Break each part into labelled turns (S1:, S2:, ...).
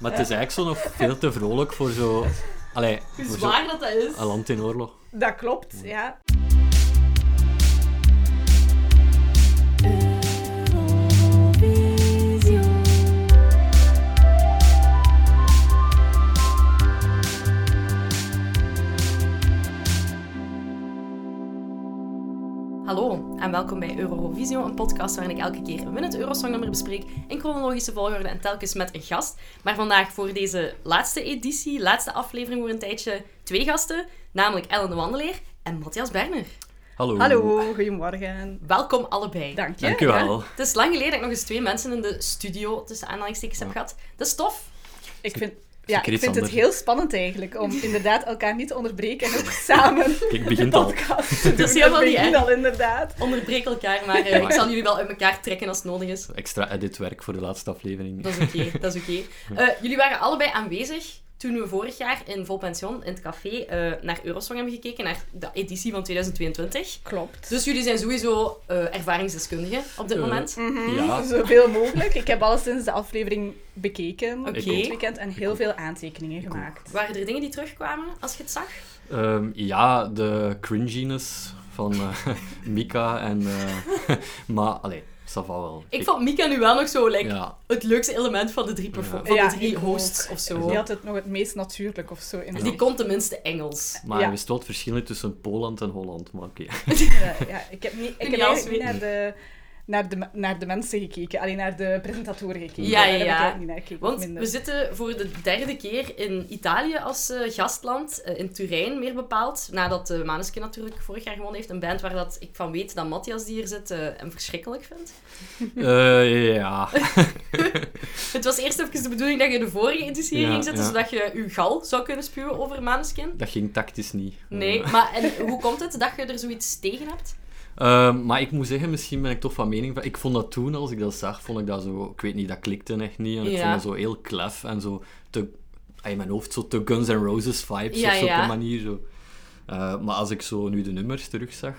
S1: Maar het is eigenlijk zo nog veel te vrolijk voor zo... Allee,
S2: Hoe
S1: voor zo
S2: zwaar dat dat is.
S1: een land in oorlog.
S3: Dat klopt, ja.
S2: Hallo en welkom bij Eurovisio, een podcast waarin ik elke keer een winnend Eurosongnummer bespreek in chronologische volgorde en telkens met een gast. Maar vandaag voor deze laatste editie, laatste aflevering voor een tijdje, twee gasten, namelijk Ellen de Wandeleer en Matthias Berner.
S1: Hallo.
S3: Hallo, goedemorgen.
S2: Welkom allebei.
S3: Dank je.
S1: Dankjewel.
S2: Het is lang geleden dat ik nog eens twee mensen in de studio tussen aanhalingstekens heb gehad. Dat is tof.
S3: Ik vind, ja,
S1: er
S3: ik
S1: iets
S3: vind het
S1: anders?
S3: heel spannend eigenlijk om inderdaad elkaar niet te onderbreken en ook samen
S1: Kijk,
S3: een
S1: begint al.
S3: podcast te doen.
S2: is helemaal niet
S3: begint
S2: erg.
S3: al inderdaad.
S2: Onderbreek elkaar, maar eh, ik zal jullie wel uit elkaar trekken als het nodig is.
S1: Extra editwerk voor de laatste aflevering.
S2: Dat is oké, dat is oké. Eh, jullie waren allebei aanwezig toen we vorig jaar in Vol Pension, in het café, eh, naar Eurosong hebben gekeken, naar de editie van 2022.
S3: Klopt.
S2: Dus jullie zijn sowieso eh, ervaringsdeskundigen op dit
S1: Eh,
S2: moment.
S3: Mm.
S1: Ja.
S3: Hmm, Zoveel mogelijk. Ik heb alles sinds de aflevering bekeken
S2: Oké.
S3: dit weekend en heel veel aantekeningen
S1: ook.
S3: gemaakt.
S2: Waren er dingen die terugkwamen als je het zag?
S1: Ehm, ja, de cringiness van eh, Mika en... eh, maar, allee, ça va wel.
S2: Ik vond Mika nu wel nog zo like,
S1: Ja,
S2: het leukste element van de drie, perfo-
S1: Ja.
S2: van
S3: Ja,
S2: de drie
S3: ik
S2: hosts
S3: ook.
S2: of
S3: Die
S2: zo.
S3: had het nog het meest natuurlijk of zo.
S2: Die
S3: inderdaad.
S2: kon tenminste Engels.
S1: maar
S3: Ja.
S1: er is wel het verschil tussen Poland en Holland, maar oké.
S3: Ja, ja, ik heb, niet, ik
S2: Niet
S3: heb
S2: als
S3: eigenlijk niet naar de, naar, de, me- naar de mensen gekeken, alleen naar de presentatoren gekeken.
S2: Ja, ja,
S3: Daar heb ik
S2: ja.
S3: eigenlijk niet naar gekeken.
S2: Want
S3: minder.
S2: we zitten voor de derde keer in Italië als eh, gastland, eh, in Turijn meer bepaald. Nadat eh Maneskin natuurlijk vorig jaar gewonnen heeft. Een band waar dat ik van weet dat Matthias die hier zit en hem verschrikkelijk vindt.
S1: Eh, ja,
S2: Het was eerst even de bedoeling dat je de vorige editie hier
S1: Ja,
S2: ging zetten,
S1: ja.
S2: zodat je uw gal zou kunnen spuwen over Maneskin.
S1: dat ging tactisch niet. Eh,
S2: Nee, maar en hoe komt het dat je er zoiets tegen hebt?
S1: Ehm, maar ik moet zeggen, misschien ben ik toch van mening van... Ik vond dat toen, als ik dat zag, vond ik dat zo... Ik weet niet, dat klikte echt niet. En ik
S2: Ja.
S1: vond dat zo heel klef en zo te... ah, In mijn hoofd zo te Guns N' Roses vibes
S2: Ja,
S1: op zo'n
S2: ja.
S1: manier. Zo. Eh, maar als ik zo nu de nummers terugzag,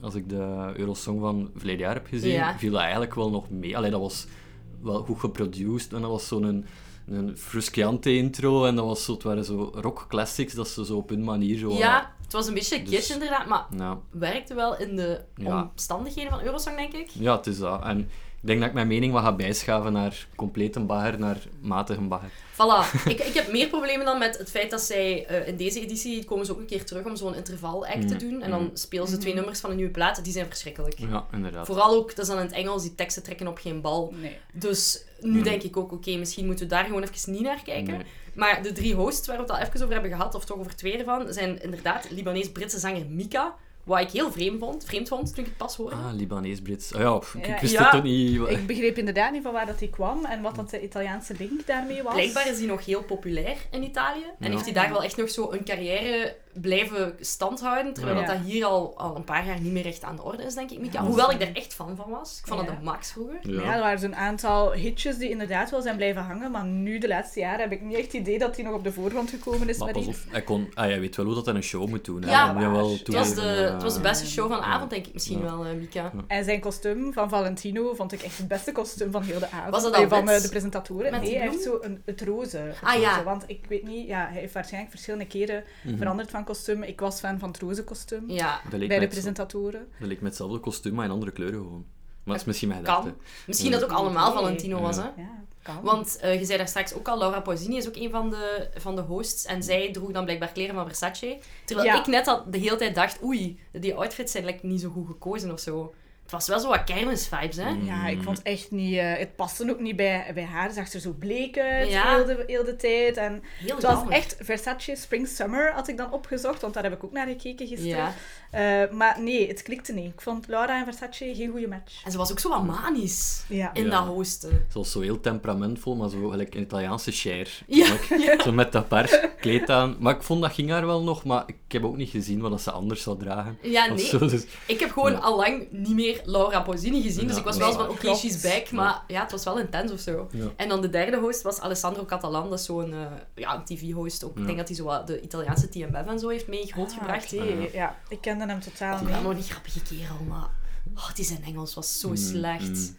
S1: als ik de Eurosong van verleden jaar heb gezien,
S2: Ja.
S1: viel dat eigenlijk wel nog mee. Allee, dat was wel goed geproduced en dat was zo'n... Een, een frusciante intro en dat was zo, het waren zo rock classics dat ze zo op hun manier zo...
S2: Ja, het was een beetje kitsch
S1: Dus-
S2: inderdaad, maar
S1: ja.
S2: werkte wel in de
S1: Ja.
S2: omstandigheden van Eurosong, denk ik.
S1: Ja, het is dat. En ik denk dat ik mijn mening wat ga bijschaven naar compleet een bagger, naar matig een bagger.
S2: Voilà. ik, ik heb meer problemen dan met het feit dat zij eh, in deze editie komen ze ook een keer terug om zo'n intervalact te
S1: Mm.
S2: doen. En dan spelen ze twee nummers van een nieuwe plaat. Die zijn verschrikkelijk.
S1: Ja, inderdaad.
S2: Vooral ook, dat is dan in het Engels, die teksten trekken op geen bal.
S3: Nee.
S2: Dus nu denk ik ook, oké, misschien moeten we daar gewoon even niet naar kijken.
S1: Mm. Nee.
S2: Maar de drie hosts waar we het al even over hebben gehad, of toch over twee ervan, zijn inderdaad Libanees-Britse zanger Mika. Wat ik heel vreemd vond, vreemd vond toen ik het pas hoorde.
S1: Ah, Libanees-Brits. Ah ja, pff, ik,
S3: Ja,
S1: ik wist
S2: ja.
S1: het toch niet.
S2: Eh.
S3: Ik begreep inderdaad niet van waar dat die kwam en wat dat de Italiaanse link daarmee was.
S2: Blijkbaar is hij nog heel populair in Italië. En
S1: Ja.
S2: heeft hij daar wel echt nog zo een carrière blijven standhouden. Terwijl
S1: Ja.
S2: dat, dat hier al, al een paar jaar niet meer echt aan de orde is, denk ik, Mika.
S1: Ja.
S2: Hoewel ik daar echt fan van was. Ik vond dat
S3: Ja.
S2: de max vroeger.
S3: Ja. er waren zo'n aantal hitjes die inderdaad wel zijn blijven hangen, maar nu, de laatste jaren, heb ik niet echt het idee dat die nog op de voorgrond gekomen is.
S1: Maar pas
S3: maar die-
S1: op, hij kon... Ah, jij weet wel hoe dat hij een show moet doen. hè.
S2: Ja,
S1: Dat moet je wel
S3: waar.
S2: Het was, de,
S1: toegeven, eh.
S2: het was de beste show van de
S1: Ja.
S2: avond, denk ik misschien
S1: Ja.
S2: wel, eh, Mika.
S3: En zijn kostuum van Valentino vond ik echt het beste kostuum van heel de avond.
S2: Was dat
S3: Nee,
S2: al
S3: van
S2: wit?
S3: eh, de presentatoren.
S2: Met die
S3: nee, hij heeft
S2: bloem?
S3: zo een, het roze. het
S2: Ah,
S3: roze.
S2: ja.
S3: Want ik weet niet, ja, hij heeft waarschijnlijk verschillende keren
S1: Mhm.
S3: veranderd van kostuum. Ik was fan van het roze kostuum
S2: Ja,
S1: Dat leek
S3: bij
S1: me
S3: de
S1: hetzelfde-
S3: presentatoren.
S1: Dat leek met hetzelfde kostuum, maar in andere kleuren gewoon. Maar dat is misschien mijn gedachte.
S2: kan. Misschien dat ook allemaal Valentino was, hè.
S3: Ja, kan.
S2: Want eh, je zei daar straks ook al, Laura Pausini is ook een van de, van de hosts. En zij droeg dan blijkbaar kleren van Versace. Terwijl
S3: Ja.
S2: ik net al de hele tijd dacht, oei, die outfits zijn like, niet zo goed gekozen of zo. Het was wel zo wat kermis-vibes, hè.
S3: Ja, ik vond echt niet... eh, het paste ook niet bij, bij haar. Zag er zo bleek uit
S2: Ja.
S3: heel, de, heel de tijd. En
S2: Heel
S3: het was
S2: jammer.
S3: echt Versace Spring Summer, had ik dan opgezocht. Want daar heb ik ook naar gekeken gisteren.
S2: Ja.
S3: Eh, maar nee, het klikte niet. Ik vond Laura en Versace geen goede match.
S2: En ze was ook zo wat manisch
S3: Ja.
S2: in
S1: Ja.
S2: dat hosten.
S1: Het was zo heel temperamentvol, maar zo gelijk een Italiaanse share.
S2: Ja,
S1: Zo met dat paars kleed aan. Maar ik vond dat ging haar wel nog, maar ik heb ook niet gezien wat dat ze anders zou dragen.
S2: Ja,
S1: Of
S2: nee.
S1: zo, dus-
S2: Ik heb gewoon
S1: Ja.
S2: al lang niet meer Laura Pausini gezien, dus
S1: Ja,
S2: ik was
S1: dat
S2: wel
S1: is
S2: zo van,
S1: waar.
S2: oké,
S3: Klopt.
S2: she's back, maar ja, het was wel intens of zo.
S1: Ja.
S2: En dan de derde host was Alessandro Catalan, dat is zo'n eh, ja, een tv-host ook. Ik denk dat hij zo wat de Italiaanse TMF en zo heeft mee grootgebracht.
S3: Ah, oké. Ja, ik kende hem totaal
S2: Ik vond
S3: niet.
S2: hem nog een
S1: Mm,
S2: grappige kerel, maar... Oh, die zijn Engels was zo slecht.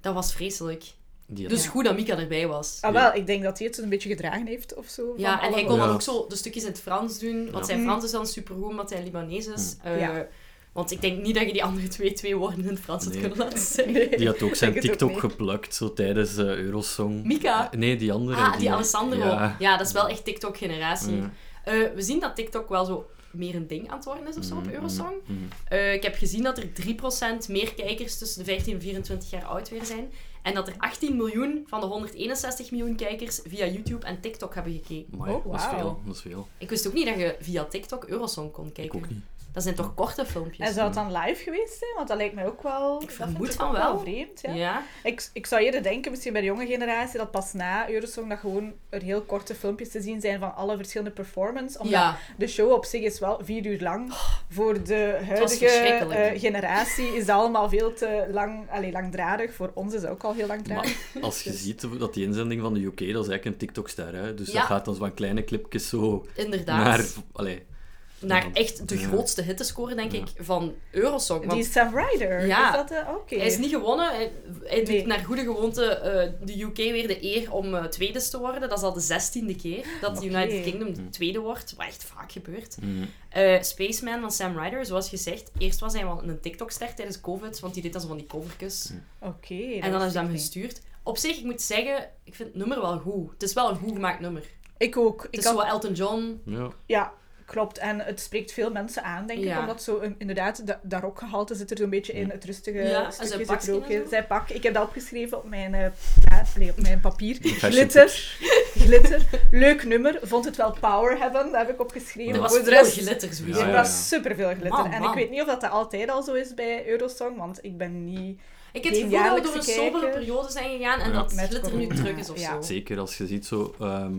S2: Dat was vreselijk.
S1: Die had-
S2: Dus goed dat Mika erbij was.
S3: Ah, wel, ik denk dat hij het een beetje gedragen heeft of zo. van
S2: Ja, en hij
S3: allemaal.
S2: kon dan
S1: Ja.
S2: ook zo de stukjes in het Frans doen. Want
S1: Ja.
S2: zijn Frans is dan supergoed, omdat hij Libanees is. Eh,
S3: Ja.
S2: Want ik denk niet dat je die andere twee, twee woorden in het Frans had
S1: Nee.
S2: kunnen laten zeggen.
S3: Nee.
S1: Die had ook zijn
S3: denk het ook
S1: TikTok
S3: niet.
S1: geplukt, zo tijdens eh, Eurosong. Eh,
S2: Mika?
S1: Nee, die andere.
S2: Ah, die Alessandro. Ja.
S1: Ja.
S2: dat is wel echt TikTok-generatie.
S1: Ja.
S2: Eh, we zien dat TikTok wel zo meer een ding aan het worden is of zo op
S1: Mhm,
S2: Eurosong.
S1: mhm, mhm.
S2: Eh, ik heb gezien dat er 3% meer kijkers tussen de 15 en 24 jaar oud weer zijn. En dat er 18 miljoen van de 161 miljoen kijkers via YouTube en TikTok hebben gekeken.
S1: Amai,
S3: Oh,
S1: dat is
S3: wauw.
S1: veel. Dat is veel.
S2: Ik wist ook niet dat je via TikTok Eurosong kon kijken.
S1: Ik ook niet.
S2: Dat zijn toch korte filmpjes?
S3: En zou het dan live geweest zijn? Want dat lijkt mij ook wel... dat vind
S2: vermoed
S3: ik
S2: van
S3: ook
S2: wel.
S3: vreemd, ja.
S2: ja.
S3: Ik, ik zou eerder denken, misschien bij de jonge generatie, dat pas na Eurosong dat gewoon er heel korte filmpjes te zien zijn van alle verschillende performances. Omdat
S2: Ja. Oh.
S3: de show op zich is wel vier uur lang. Voor de huidige
S2: verschrikkelijk.
S3: eh, generatie is dat allemaal veel te lang, allee, langdradig. Voor ons is dat ook al heel langdradig.
S1: Maar als je ziet dat die inzending van de UK, dat is eigenlijk een TikTok-ster. Hè? Dus
S2: Ja.
S1: dat gaat dan zo van kleine clipjes zo
S2: inderdaad.
S1: naar...
S2: Naar,
S1: Allee,
S2: echt de
S1: Ja.
S2: grootste hittescore, denk
S1: Ja.
S2: ik, van Eurosong. Want
S3: Die Sam Ryder,
S2: Ja.
S3: is dat de... Oké.
S2: Hij is niet gewonnen. Hij, hij doet
S3: Nee.
S2: naar goede gewoonte eh, de UK weer de eer om eh, tweede te worden. Dat is al de zestiende keer dat de
S3: Oké.
S2: United Kingdom
S1: Hm.
S2: de tweede wordt. Wat echt vaak gebeurt.
S1: Mhm.
S2: Eh, Spaceman van Sam Ryder, zoals gezegd. Eerst was hij wel een TikTok-ster tijdens COVID, want die deed dan zo van die covertjes.
S3: Oké.
S2: En dan
S3: dat
S2: hebben ze
S3: wist
S2: hem
S3: ik niet.
S2: gestuurd. Op zich, ik moet zeggen, ik vind het nummer wel goed. Het is wel een goed gemaakt nummer.
S3: Ik ook.
S2: Het
S3: Ik
S2: is
S3: had-
S2: zo wat Elton John.
S1: ja.
S3: Ja, klopt. En het spreekt veel mensen aan, denk
S2: Ja.
S3: ik. Omdat zo, een- inderdaad, da- dat rokgehalte zit er zo'n beetje in. Het rustige
S2: Ja, en
S3: stukje
S2: zijn
S3: zit
S2: pakje
S3: er ook
S2: en
S3: in.
S2: zo.
S3: Zijn pak. Ik heb dat opgeschreven op mijn, eh, na- nee, op mijn papier.
S1: fashion
S3: Glitter. Glitter. Leuk nummer. Vond het wel power hebben. Dat heb ik opgeschreven.
S2: Er was
S3: Voor
S2: veel
S3: de rest-
S2: glitter, sowieso.
S1: Ja,
S3: Er
S1: ja.
S3: was superveel glitter.
S2: Man,
S3: en
S2: man.
S3: ik weet niet of dat, dat altijd al zo is bij Eurosong, want ik ben niet...
S2: Ik heb het
S3: Die
S2: gevoel dat we door een
S3: jaarlijkse
S2: sobere
S3: kijker.
S2: periode zijn gegaan en
S1: Ja.
S2: dat
S3: Met
S2: glitter nu
S3: corona.
S2: terug is of
S3: Ja.
S2: zo.
S1: Zeker als je ziet zo ehm,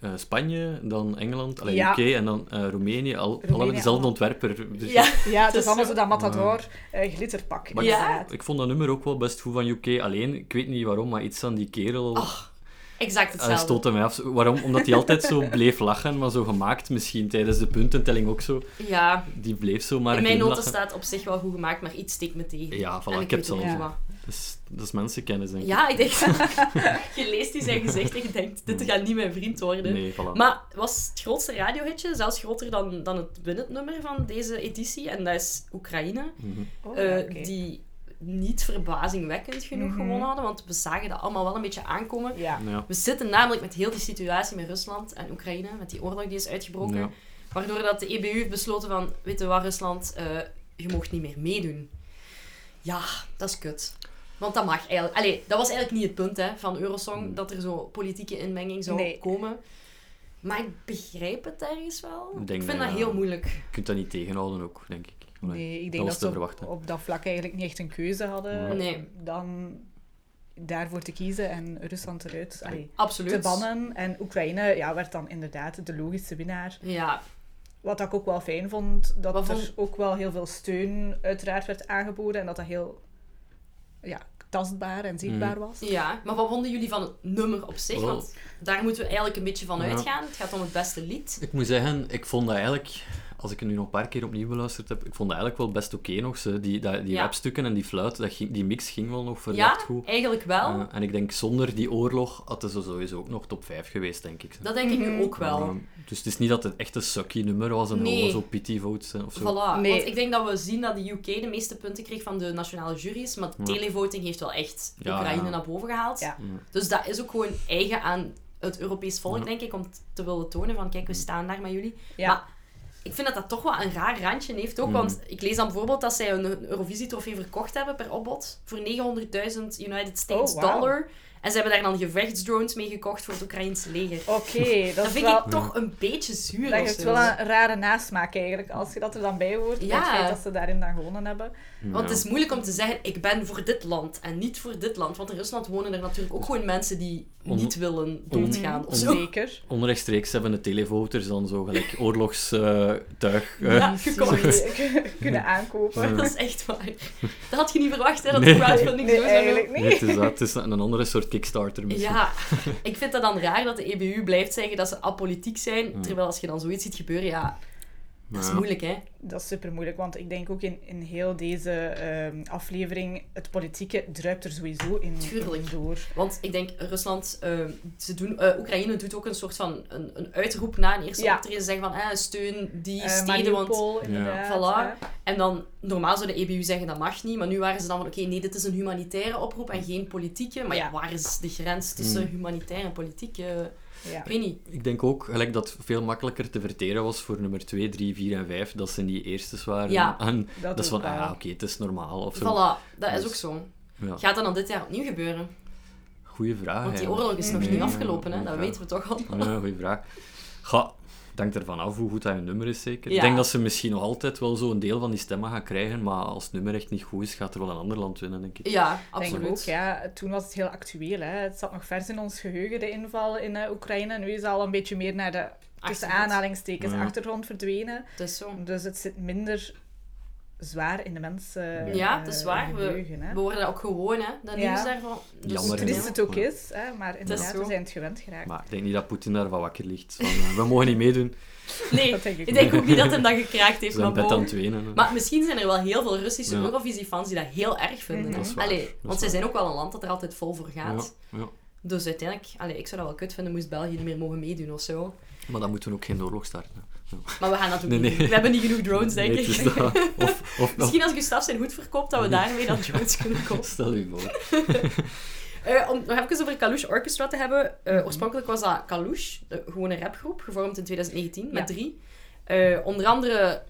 S1: eh, Spanje, dan Engeland, allee,
S3: Ja.
S1: UK en dan eh, Roemenië, al,
S3: Roemenië,
S1: allemaal dezelfde
S3: allemaal.
S1: ontwerper. Dus
S2: Ja.
S3: Ja, het
S2: is
S3: is allemaal
S2: zo.
S3: zo dat Matador eh, glitterpak.
S1: Maar
S2: Ja.
S1: ik, ik vond dat nummer ook wel best goed van UK. Alleen, ik weet niet waarom, maar iets aan die kerel
S2: Oh, Exact
S1: eh,
S2: hetzelfde.
S1: stootte mij af. Zo- Waarom? Omdat hij altijd zo bleef lachen, maar zo gemaakt misschien tijdens de puntentelling ook zo.
S2: Ja,
S1: Die bleef zo maar
S2: in mijn noten
S1: glimlachen.
S2: staat op zich wel goed gemaakt, maar iets steekt me tegen.
S1: Ja, voilà,
S2: En
S1: ik
S2: ik
S1: heb
S2: weet
S1: het
S2: ook
S1: al
S2: niet
S3: gezien.
S2: wat.
S1: Dat is, dat is mensenkennis, denk ik.
S2: Ja, ik denk... je leest die zijn gezicht en je denkt, dit gaat niet mijn vriend worden.
S1: Nee, voilà.
S2: Maar het was het grootste radiohitje, zelfs groter dan, dan het winnendnummer van deze editie. En dat is Oekraïne.
S1: Mhm.
S3: Oh,
S2: eh,
S3: ja, oké.
S2: Die niet verbazingwekkend genoeg
S3: Mhm.
S2: gewonnen hadden, want we zagen dat allemaal wel een beetje aankomen.
S3: Ja.
S1: Ja.
S2: We zitten namelijk met heel die situatie met Rusland en Oekraïne, met die oorlog die is uitgebroken.
S1: Ja.
S2: Waardoor dat de EBU heeft besloten van, weet je wat Rusland, eh, je mocht niet meer meedoen. Ja, dat is kut. Want dat mag eigenlijk... Allee, dat was eigenlijk niet het punt hè, van Eurosong,
S1: Hmm.
S2: dat er zo politieke inmenging zou
S3: Nee.
S2: komen. Maar ik begrijp het ergens wel.
S1: Ik
S2: Ik,
S1: denk
S2: vind
S1: dat,
S2: dat
S1: ja.
S2: heel moeilijk.
S1: Je kunt dat niet tegenhouden ook, denk ik. Allee,
S3: Nee, ik
S1: dat
S3: denk
S1: was
S3: dat,
S1: te
S3: ze op,
S1: verwachten.
S3: op dat vlak eigenlijk niet echt een keuze hadden eh,
S2: Nee.
S3: dan daarvoor te kiezen en Rusland eruit allee,
S2: Absoluut.
S3: te bannen. En Oekraïne ja, werd dan inderdaad de logische winnaar.
S2: Ja,
S3: Wat ik ook wel fijn vond, dat
S2: Wat
S3: er
S2: vond-
S3: ook wel heel veel steun uiteraard werd aangeboden en dat dat heel ja, tastbaar en zichtbaar was.
S2: Mm. ja. Maar wat vonden jullie van het nummer op zich?
S1: Wel.
S2: Want daar moeten we eigenlijk een beetje van
S1: Oh. Ja.
S2: uitgaan. Het gaat om het beste lied.
S1: Ik moet zeggen, ik vond dat eigenlijk, als ik het nu nog een paar keer opnieuw beluisterd heb, ik vond dat eigenlijk wel best oké nog. Ze. Die, dat- die
S2: Ja.
S1: rapstukken en die fluit, dat ging, die mix ging wel nog verdacht
S2: Ja,
S1: goed.
S2: eigenlijk wel.
S1: Eh, en ik denk, zonder die oorlog hadden ze sowieso ook nog top 5 geweest, denk ik.
S2: Dat denk ik
S3: Mhm.
S2: nu ook wel.
S1: Eh, dus het is niet dat het echt een sucky nummer was en
S2: Nee.
S1: gewoon zo pity votes zijn of zo.
S2: Voilà,
S3: Nee.
S2: want ik denk dat we zien dat de UK de meeste punten kreeg van de nationale juries, maar televoting heeft wel echt
S1: Ja,
S2: Oekraïne
S1: ja.
S2: naar boven gehaald.
S3: Ja.
S2: Dus dat is ook gewoon eigen aan het Europees volk,
S1: Ja.
S2: denk ik, om t- te willen tonen van kijk, we staan daar met jullie.
S3: Ja.
S2: Maar ik vind dat dat toch wel een raar randje heeft ook,
S1: Mm.
S2: want ik lees dan bijvoorbeeld dat zij een Eurovisie-trofee verkocht hebben per opbod voor 900.000 United States
S3: Oh, wauw.
S2: dollar. En ze hebben daar dan gevechtsdrones mee gekocht voor het Oekraïnse leger.
S3: Oké, dat,
S2: Dat,
S3: is
S2: vind
S3: wel...
S2: ik toch een beetje zuur.
S3: Dat
S2: of
S3: heeft
S2: zo.
S3: wel een rare nasmaak eigenlijk, als je dat er dan bij hoort. bij
S2: Ja.
S3: Het feit dat ze daarin dan gewonnen hebben.
S2: Want
S1: Ja.
S2: het is moeilijk om te zeggen, ik ben voor dit land en niet voor dit land. Want in Rusland wonen er natuurlijk ook gewoon mensen die
S1: On-
S2: niet willen doodgaan of zo.
S3: Mm, Zeker.
S1: Onrechtstreeks hebben de televoters dan zo gelijk eh, oorlogstuig.
S2: Ja,
S3: Die
S2: gekocht.
S3: ze kunnen aankopen.
S2: Dat is echt waar. Dat had je niet verwacht, hè, dat
S1: Nee.
S2: de crowdfunding
S3: Nee,
S2: zo zou doen.
S3: eigenlijk niet.
S1: het, is dat, het is een andere soort kickstarter misschien.
S2: Ja, ik vind E dat dan raar dat de EBU blijft zeggen dat ze apolitiek zijn. Terwijl als je dan zoiets ziet gebeuren, ja... Dat is
S1: Ja.
S2: moeilijk, hè?
S3: Dat is super moeilijk, want ik denk ook in, in heel deze ehm, aflevering, het politieke druipt er sowieso in,
S2: Tuurlijk.
S3: in door.
S2: Want ik denk, Rusland, eh, ze doen, eh, Oekraïne doet ook een soort van een, een uitroep na een eerste
S3: Ja.
S2: optreden. Ze zeggen van, eh, steun die
S3: Eh,
S2: steden, want...
S3: Mariupol, inderdaad.
S2: Voilà.
S3: hè.
S2: En dan, normaal zou de EBU zeggen, dat mag niet. Maar nu waren ze dan van, oké, nee, dit is een humanitaire oproep en geen politieke. Maar ja,
S3: Ja.
S2: waar is de grens tussen
S1: Hmm.
S2: humanitair en politiek? eh
S3: Ja.
S2: ik weet niet.
S1: Ik denk ook, gelijk dat het veel makkelijker te verteren was voor nummer 2, 3, 4 en 5, dat ze niet eerstes waren.
S2: Ja.
S1: En
S3: Dat,
S1: dat,
S3: ook
S1: is van,
S3: wel.
S1: ah, oké, het is normaal of zo.
S2: Voilà, dat is
S1: Dus-
S2: ook zo.
S1: Ja.
S2: Gaat dat dan dit jaar opnieuw gebeuren?
S1: Goeie vraag.
S2: Want die
S1: eigenlijk.
S2: oorlog is nog
S3: Hmm.
S1: Nee,
S2: niet
S1: ja,
S2: afgelopen, hè?
S1: goeie
S2: Dat
S1: vraag.
S2: weten we toch al.
S1: Ja, goeie vraag. Ga, denk ervan af hoe goed dat hun nummer is, zeker.
S2: Ja.
S1: Ik denk dat ze misschien nog altijd wel zo'n deel van die stemmen gaan krijgen, maar als het nummer echt niet goed is, gaat er wel een ander land winnen, denk ik.
S2: Ja,
S3: Ik Denk
S2: absoluut.
S3: ook, ja. Toen was het heel actueel. Hè. Het zat nog vers in ons geheugen, de inval in eh, Oekraïne. Nu is het al een beetje meer naar de tussen
S2: Achtergrond.
S3: aanhalingstekens
S1: Ja.
S3: achtergrond verdwenen.
S2: Het is zo.
S3: Dus het zit minder zwaar in de mensen. eh,
S2: Ja, dat is waar. We,
S3: geheugen, hè.
S2: we worden dat ook gewoon, hè? Dat
S3: Ja.
S2: nieuws daarvan. Dus,
S1: Jammer,
S3: Hoe triest
S1: inderdaad.
S3: het ook
S1: Ja.
S3: is, hè, maar inderdaad,
S2: zo.
S3: we zijn het gewend geraakt.
S1: Maar ik denk niet dat Poetin daarvan wakker ligt. Van, eh, we mogen niet meedoen.
S2: Nee,
S3: Dat denk ik
S2: ik denk ook niet dat hem dat gekraakt
S1: We
S2: heeft, maar
S1: zijn bed
S2: bon.
S1: aan het wenen. hè.
S2: Maar misschien zijn er wel heel veel Russische
S1: Ja.
S2: Eurovisie-fans die dat heel erg vinden.
S3: Mhm. Dat
S1: is waar.
S2: Allee,
S1: Dat is
S2: want zij
S1: waar.
S2: zijn ook wel een land dat er altijd vol voor gaat.
S1: Ja, ja.
S2: Dus uiteindelijk, allee, ik zou dat wel kut vinden, moest België niet meer mogen meedoen of zo.
S1: Maar dan moeten we ook geen oorlog starten. hè.
S2: Maar we gaan dat ook
S1: Nee,
S2: niet
S1: nee.
S2: doen. We hebben niet genoeg drones, denk
S1: Nee, het is
S2: ik.
S1: dat. Of, of,
S2: Misschien als Gustaf zijn hoed verkoopt, dat we daarmee dan drones kunnen kopen.
S1: Stel u voor.
S2: Eh, om nog even over Kalush Orchestra te hebben. Eh,
S1: Mhm.
S2: Oorspronkelijk was dat Kalush, de, gewoon een rapgroep, gevormd in 2019 met
S3: Ja.
S2: drie. Eh, onder andere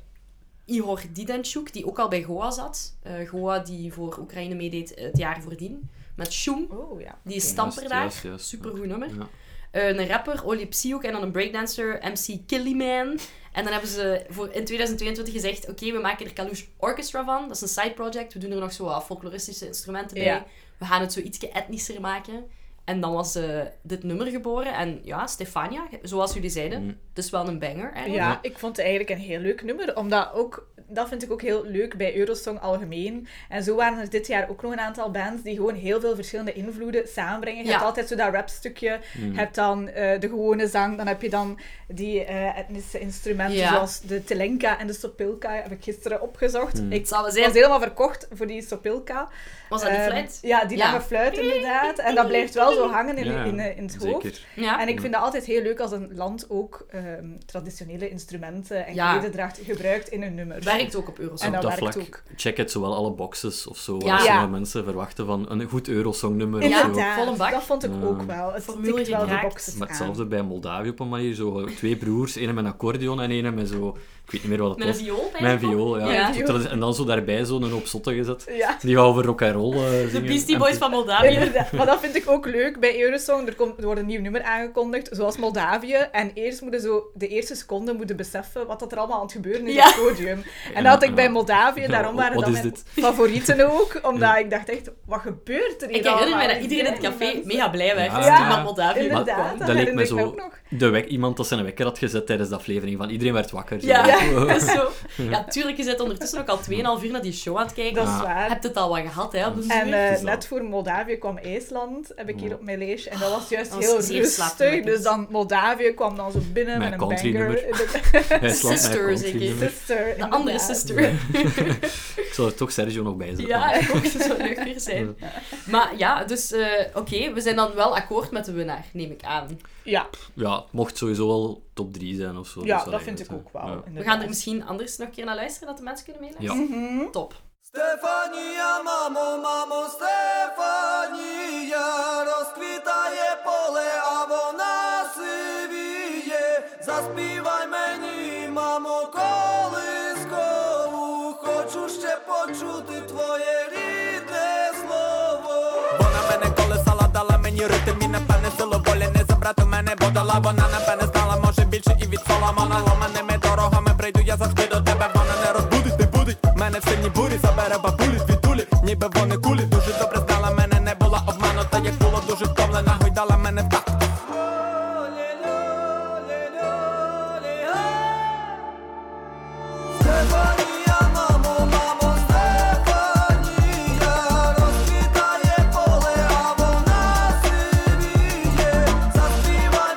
S2: Ihor Didenchuk, die ook al bij Goa zat. Eh, Goa die voor Oekraïne meedeed het jaar voordien. Met Shum,
S3: Oh ja.
S2: die is stamper
S1: Juist,
S2: daar.
S1: juist, juist.
S2: Supergoed nummer.
S1: Ja.
S2: Eh, een rapper, Oli Psyuk, en dan een breakdancer, MC Killyman. En dan hebben ze voor in 2022 gezegd, oké, we maken er Kalush Orchestra van. Dat is een side project. We doen er nog zo wat folkloristische instrumenten bij.
S3: Ja.
S2: We gaan het zo ietsje etnischer maken. En dan was eh, dit nummer geboren. En ja, Stefania, zoals jullie zeiden,
S1: Mhm.
S2: het is wel een banger eigenlijk.
S3: Mm. Ja, ik vond het eigenlijk een heel leuk nummer, omdat ook, dat vind ik ook heel leuk bij Eurosong algemeen. En zo waren er dit jaar ook nog een aantal bands die gewoon heel veel verschillende invloeden samenbrengen. Je
S2: Ja.
S3: hebt altijd zo dat rapstukje,
S1: Hmm.
S3: je hebt dan eh, de gewone zang, dan heb je dan die eh, etnische instrumenten
S2: Ja.
S3: zoals de telenka en de sopilka, heb ik gisteren opgezocht. Ik
S1: Hmm.
S2: Het zal wel
S3: was
S2: zijn.
S3: helemaal verkocht voor die sopilka.
S2: Was dat die
S3: Ehm,
S2: fluit?
S3: Ja, die
S2: Ja.
S3: lange fluit inderdaad. En dat blijft wel zo hangen in,
S1: Ja,
S3: in, eh, in het hoofd.
S1: Zeker.
S2: Ja.
S3: En ik vind dat altijd heel leuk als een land ook ehm, traditionele instrumenten en
S2: Ja.
S3: klededracht gebruikt in hun nummers.
S2: Werkt ook op Eurosong.
S3: En
S1: op
S3: dat
S1: dat
S3: werkt
S1: vlak,
S3: ook.
S1: check het zowel alle boxes of zo.
S2: Ja.
S1: Als
S3: Ja.
S1: ja. mensen verwachten van een goed Eurosong-nummer
S2: Ja.
S1: of zo.
S3: Inderdaad,
S2: volle bak.
S3: dat vond ik
S1: Ja.
S3: ook wel. Het
S2: Formule
S3: tikt wel de
S2: geraakt.
S3: boxes
S1: Maar
S3: aan.
S1: hetzelfde bij Moldavië op een manier. Zo, twee broers, één met een accordeon en één met zo... Ik weet niet meer wat het
S2: Met een
S1: was.
S2: viool
S1: Mijn
S2: bijna.
S1: viool, ja.
S2: Ja.
S1: Tot er- En dan zo daarbij zo'n op zotte gezet.
S3: Ja,
S1: Die gaan over rock and roll eh,
S2: De
S1: zingen.
S2: Beastie
S1: En-
S2: Boys van Moldavië.
S3: inderdaad. Maar dat vind ik ook leuk bij Eurosong. Er, komt, er wordt een nieuw nummer aangekondigd, zoals Moldavië. En eerst moeten zo de eerste seconden moeten beseffen wat dat er allemaal aan het gebeuren is
S2: Ja.
S3: op het podium. En dat had ik bij Moldavië, daarom
S1: Ja,
S3: waren
S1: wat
S3: dat
S1: is
S3: mijn
S1: dit?
S3: favorieten ook. Omdat ik dacht echt, wat gebeurt er hier
S2: Ik herinner mij
S3: allemaal?
S2: dat iedereen in het
S3: Die
S2: café
S3: mensen.
S2: mega blij werd
S1: Ja.
S2: toen van Moldavië
S1: Maar
S3: Inderdaad,
S2: kwam.
S1: dat
S3: dat
S1: leek
S3: herinner
S1: me
S3: ik me
S1: zo...
S3: ook nog.
S1: De wek, iemand dat zijn wekker had gezet tijdens de aflevering van iedereen werd wakker. zo.
S2: Ja, dat is zo. Ja, tuurlijk, je zit ondertussen ook al 2,5 uur naar die show aan het kijken.
S3: Dat is
S1: Ah.
S3: waar.
S2: Je hebt het al wat gehad, hè, op de
S3: En
S2: duur.
S3: eh,
S1: Het is al-
S3: net voor Moldavië kwam IJsland, heb ik hier op mijn lijstje. En dat was juist
S2: Dat was
S3: heel
S2: zeer
S3: rustig.
S2: slaapverwekkend.
S3: Dus dan Moldavië kwam dan zo binnen
S1: Mijn
S3: met een
S1: country
S3: banger.
S1: nummer. IJsland,
S2: Sister,
S1: mijn country
S2: zeker.
S1: nummer.
S3: Sister.
S2: de
S3: inderdaad.
S2: andere sister.
S1: Ik zal er toch Sergio nog bij zetten.
S2: Ja, ik ook. Dat zou leuk weer zijn. Maar ja, dus eh, oké, we zijn dan wel akkoord met de winnaar, neem ik aan.
S3: Ja,
S1: Ja, het mocht sowieso wel top 3 zijn of zo.
S3: ja
S1: Dus
S3: dat
S1: allee,
S3: vind ik
S1: eh,
S3: ook wel.
S1: ja.
S2: We
S3: inderdaad.
S2: gaan er misschien anders nog een keer naar luisteren, dat de mensen kunnen meeluisteren.
S1: Ja.
S2: Top.
S4: Стефанія, мамо, мамо, Стефанія, розквітає поле, а вона сивіє. Заспівай мені, мамо, колискову, хочу ще почути твоє рідне слово. Вона мене колесала, дала мені ритм і напевне силу волі не забрати в мене, бо дала вона напевне знала, може більше і від Соломона Ломаними дорогами прийду я завжди до тебе, вона не розбудить, не будить мене в синій бурі, забере бабулі, звітулі, ніби вони кулі, дуже добре знала мене, не була обманута, як було дуже втомлена, гойдала мене в так. Стефанія, мамо, мамо, Стефанія, розквітає поле, а вона сивіє. Заспівай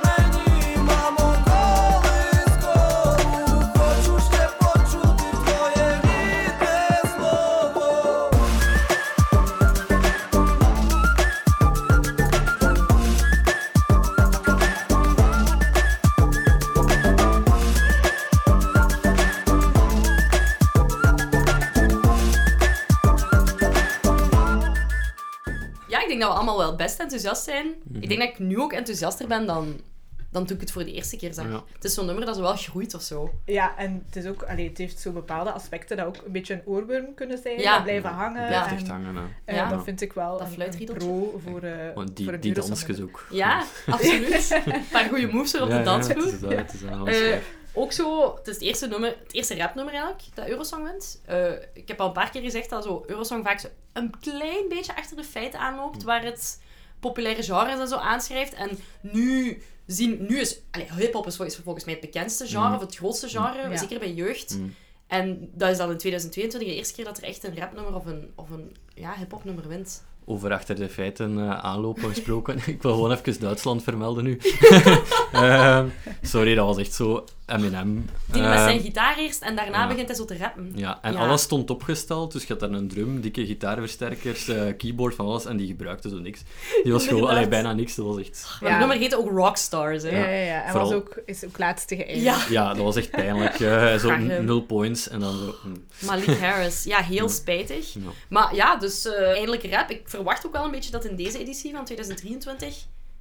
S2: denk dat we allemaal wel best enthousiast zijn. Ik denk dat ik nu ook enthousiaster ben dan, dan toen ik het voor de eerste keer zag.
S1: Ja.
S2: Het is zo'n nummer dat zo wel groeit of zo.
S3: Ja, en het, is ook, allee, het heeft zo bepaalde aspecten dat ook een beetje een oorworm kunnen zijn.
S2: Ja.
S3: Ja. blijven hangen.
S2: Ja.
S1: Blijft
S3: en,
S1: echt hangen, hè.
S3: eh,
S2: Ja.
S3: Dat vind ik wel
S2: Dat
S3: een- een
S2: fluitriedeltje.
S3: pro voor, eh
S1: Want die,
S3: voor een
S1: die
S3: Eurosong
S1: dansjes
S3: nummer.
S1: ook.
S2: Ja, absoluut. Een paar goede moves er op
S1: Ja,
S2: de
S1: ja, het
S2: dansvloer.
S1: is dat, het is dat, alles
S2: Eh,
S1: waar.
S2: ook zo, het is het eerste, nummer, het eerste rapnummer eigenlijk dat Eurosong wint. Eh, ik heb al een paar keer gezegd dat zo Eurosong vaak zo een klein beetje achter de feiten
S1: Hm.
S2: aanloopt, waar het populaire genres en zo aanschrijft. En nu, zien, nu is allee, hip-hop is volgens, volgens mij het bekendste genre,
S1: Mm.
S2: of het grootste genre,
S3: Hm. Ja.
S2: zeker bij jeugd.
S1: Mm.
S2: En dat is dan in 2022 de eerste keer dat er echt een rapnummer of een, of een ja, hip-hop nummer wint.
S1: Over achter de feiten eh, aanlopen gesproken. ik wil gewoon even Duitsland vermelden nu. Ehm, sorry, dat was echt zo Eminem.
S2: Die met
S1: Ehm,
S2: zijn gitaar eerst en daarna
S1: ja.
S2: begint hij zo te rappen.
S1: Ja, en
S2: Ja.
S1: alles stond opgesteld, dus je had daar een drum, dikke gitaarversterkers, eh, keyboard, van alles, en die gebruikte zo niks. Die was gewoon,
S2: Inderdaad.
S1: allee, bijna niks, dat was echt...
S2: Maar
S3: Ja.
S2: het nummer heette ook Rockstars. Hè?
S3: Ja, ja, ja. En
S1: Vooral-
S3: was ook, is ook laatste geëindigd.
S2: ja.
S1: Ja, dat was echt pijnlijk. eh, zo
S2: Graag hem.
S1: nul points, en dan zo... mm,
S2: Malik Harris. Ja, heel spijtig.
S1: ja.
S2: Maar ja, dus eh, eindelijk rap. Ik verwacht ook wel een beetje dat in deze editie van 2023,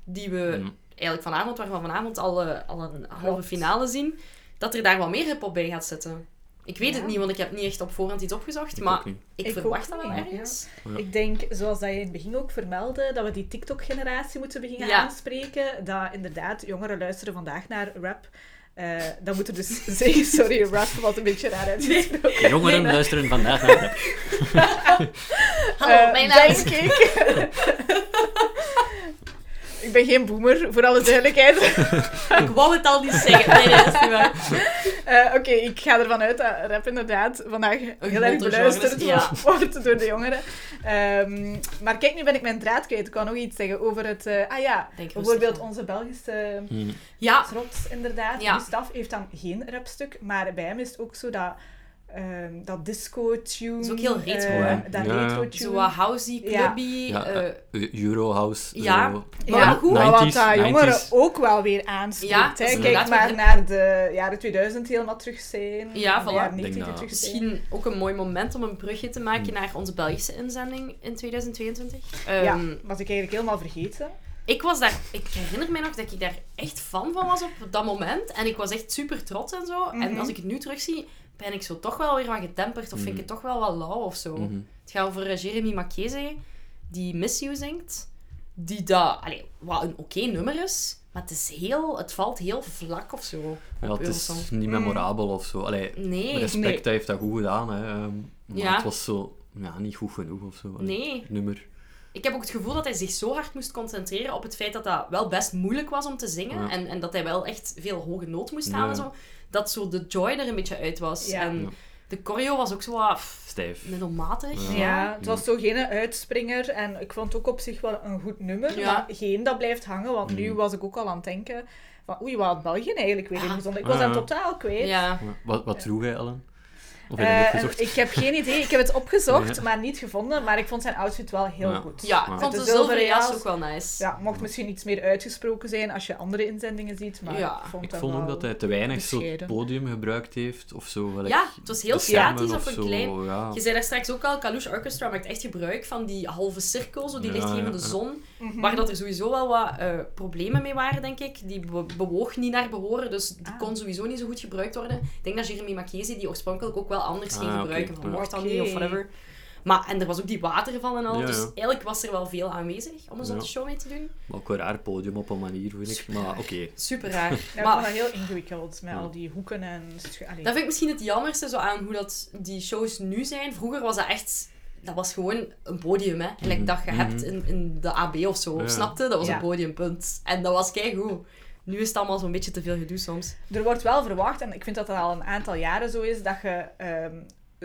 S2: die we
S1: Mm.
S2: eigenlijk vanavond, waar we vanavond al, eh, al een halve
S3: Klopt.
S2: finale zien, dat er daar wat meer hip-hop bij gaat zitten. Ik weet het
S3: Ja.
S2: niet, want ik heb niet echt op voorhand iets opgezocht,
S1: Ik
S2: maar
S1: ook niet.
S2: ik,
S3: Ik
S2: verwacht
S3: ook
S2: dat wel
S3: niet, ja.
S2: ergens.
S1: Ja.
S3: Ik denk, zoals dat je in het begin ook vermeldde, dat we die TikTok-generatie moeten beginnen
S2: Ja.
S3: aanspreken. Dat inderdaad, jongeren luisteren vandaag naar rap. Eh dat moet er dus zeggen, sorry, rap was een beetje raar uitgesproken.
S1: De Jongeren
S3: Nee, maar-
S1: luisteren vandaag naar rap.
S2: Hallo,
S3: Eh,
S2: mijn naam is...
S3: Denk ik. ik ben geen boomer, voor alle duidelijkheid.
S2: Ik wou het al niet zeggen. Nee, nee, dat is niet waar.
S3: Eh, Oké, ik ga ervan uit dat rap inderdaad vandaag heel
S2: groter
S3: erg beluisterd
S2: genre is,
S3: wordt door de jongeren. Ehm, maar kijk, nu ben ik mijn draad kwijt. Ik kan nog iets zeggen over het... eh, ah ja,
S2: Denk rustig
S3: bijvoorbeeld
S2: aan.
S3: onze Belgische
S1: Mm.
S2: Ja,
S3: trots, inderdaad.
S2: Ja.
S3: Gustaf heeft dan geen rapstuk, maar bij hem is het ook zo dat... ehm, dat disco-tune.
S2: Is ook heel retro,
S3: eh,
S1: hè?
S3: Dat
S1: Ja.
S3: retro-tune.
S2: zo wat housey,
S3: Ja.
S2: clubby...
S1: Ja,
S2: eh,
S1: eh, Eurohouse.
S2: ja.
S1: zo.
S2: Maar
S3: Ja,
S2: goed.
S3: maar wat
S1: 90s,
S3: dat jongeren
S1: 90s.
S3: ook wel weer aanspreekt.
S2: Ja, dat
S3: hè.
S2: is
S3: Kijk
S2: inderdaad wel
S3: maar
S2: heel-
S3: naar de jaren 2000 die helemaal terug zijn.
S2: Ja,
S3: de
S2: voilà.
S3: jaren
S1: Denk
S3: 90 die
S1: dat-
S3: terug zijn.
S2: Misschien ook een mooi moment om een brugje te maken naar onze Belgische inzending in 2022.
S3: Ja,
S2: Ehm,
S3: was ik eigenlijk helemaal vergeten.
S2: Ik was daar... Ik herinner mij nog dat ik daar echt fan van was op dat moment. En ik was echt super trots en zo. En
S3: Mhm.
S2: als ik het nu terugzie, ben ik zo toch wel weer wat getemperd. Of vind ik het toch wel wat lauw of zo.
S1: Mhm.
S2: Het gaat over eh, Jeremy Macchese, die Miss You zingt. Die dat... Allee, wat een oké nummer is. Maar het, is heel, het valt heel vlak of zo.
S1: Ja,
S2: op
S1: het
S2: Eurosong.
S1: is niet memorabel of zo. Allee,
S2: Nee.
S1: respect,
S3: Nee.
S1: hij heeft dat goed gedaan. Hè. ehm, Maar
S2: Ja.
S1: het was zo ja, niet goed genoeg of zo. Allee,
S2: Nee.
S1: het Nummer.
S2: Ik heb ook het gevoel dat hij zich zo hard moest concentreren op het feit dat dat wel best moeilijk was om te zingen.
S1: Ja.
S2: En, en dat hij wel echt veel hoge noot moest halen. en
S1: Ja.
S2: Zo, dat zo de joy er een beetje uit was.
S3: Ja.
S2: En
S1: Ja.
S2: de choreo was ook zo wat pff,
S1: Stijf.
S2: middelmatig.
S1: Ja.
S3: Ja, het was zo geen uitspringer. En ik vond het ook op zich wel een goed nummer.
S2: Ja.
S3: Maar geen dat blijft hangen. Want
S1: Mm.
S3: nu was ik ook al aan het denken van... Oei, wat had België eigenlijk weer
S2: Ah.
S3: ingezonden? Ik was
S1: Ah.
S3: hem totaal kwijt.
S2: Ja.
S1: Ja. Wat, wat droeg hij, Ellen? Of heb
S3: Eh,
S1: je het
S3: en
S1: opgezocht?
S3: ik heb geen idee. Ik heb het opgezocht,
S1: Ja.
S3: maar niet gevonden. Maar ik vond zijn outfit wel heel
S1: Ja.
S3: goed.
S2: ja, ik
S1: Met
S2: vond
S3: de
S2: de zilveren
S3: zilveren
S2: jas
S3: jas.
S2: ook wel nice.
S3: Ja, mocht misschien iets meer uitgesproken zijn als je andere inzendingen ziet, maar
S2: Ja.
S3: ik vond
S1: Ik
S3: dat
S1: vond ook
S3: wel-
S1: dat hij te weinig zo
S3: bescheiden.
S1: podium gebruikt heeft of zo. gelijk
S2: Ja, het was heel
S1: de schermen
S2: statisch of een
S1: zo,
S2: klein-
S1: Ja.
S2: Je zei daar straks ook al, Kalush Orchestra maakt echt gebruik van die halve cirkel, zo die
S1: Ja,
S2: lichtgevende
S1: ja, ja.
S2: zon.
S3: Mhm.
S2: Waar dat er sowieso wel wat eh, problemen mee waren, denk ik. Die be- bewoog niet naar behoren, dus die
S3: Ah.
S2: kon sowieso niet zo goed gebruikt worden. Ik denk dat Jeremy Macchese die oorspronkelijk ook wel anders
S1: Ah,
S2: ging
S1: oké,
S2: gebruiken, van
S1: ja.
S2: mocht dat
S3: Oké.
S2: niet of whatever. Maar, en er was ook die waterval en al,
S1: Ja,
S2: dus
S1: ja.
S2: eigenlijk was er wel veel aanwezig om een zotte
S1: Ja.
S2: show mee te doen.
S1: Maar ook een raar podium op een manier, vind ik. Maar oké.
S2: Super raar.
S3: Ja,
S2: maar
S3: ik vond dat heel ingewikkeld, met al die hoeken en... schu- Allee.
S2: Dat vind ik misschien het jammerste zo aan hoe dat die shows nu zijn. Vroeger was dat echt... Dat was gewoon een podium, hè. Gelijk dat je hebt in, in de AB of zo,
S1: Mhm. Ja.
S2: snapte? Dat was
S3: Ja.
S2: een podiumpunt. En dat was keigoed. Nu is het allemaal zo'n beetje te veel gedoe soms.
S3: Er wordt wel verwacht, en ik vind dat dat al een aantal jaren zo is, dat je ehm,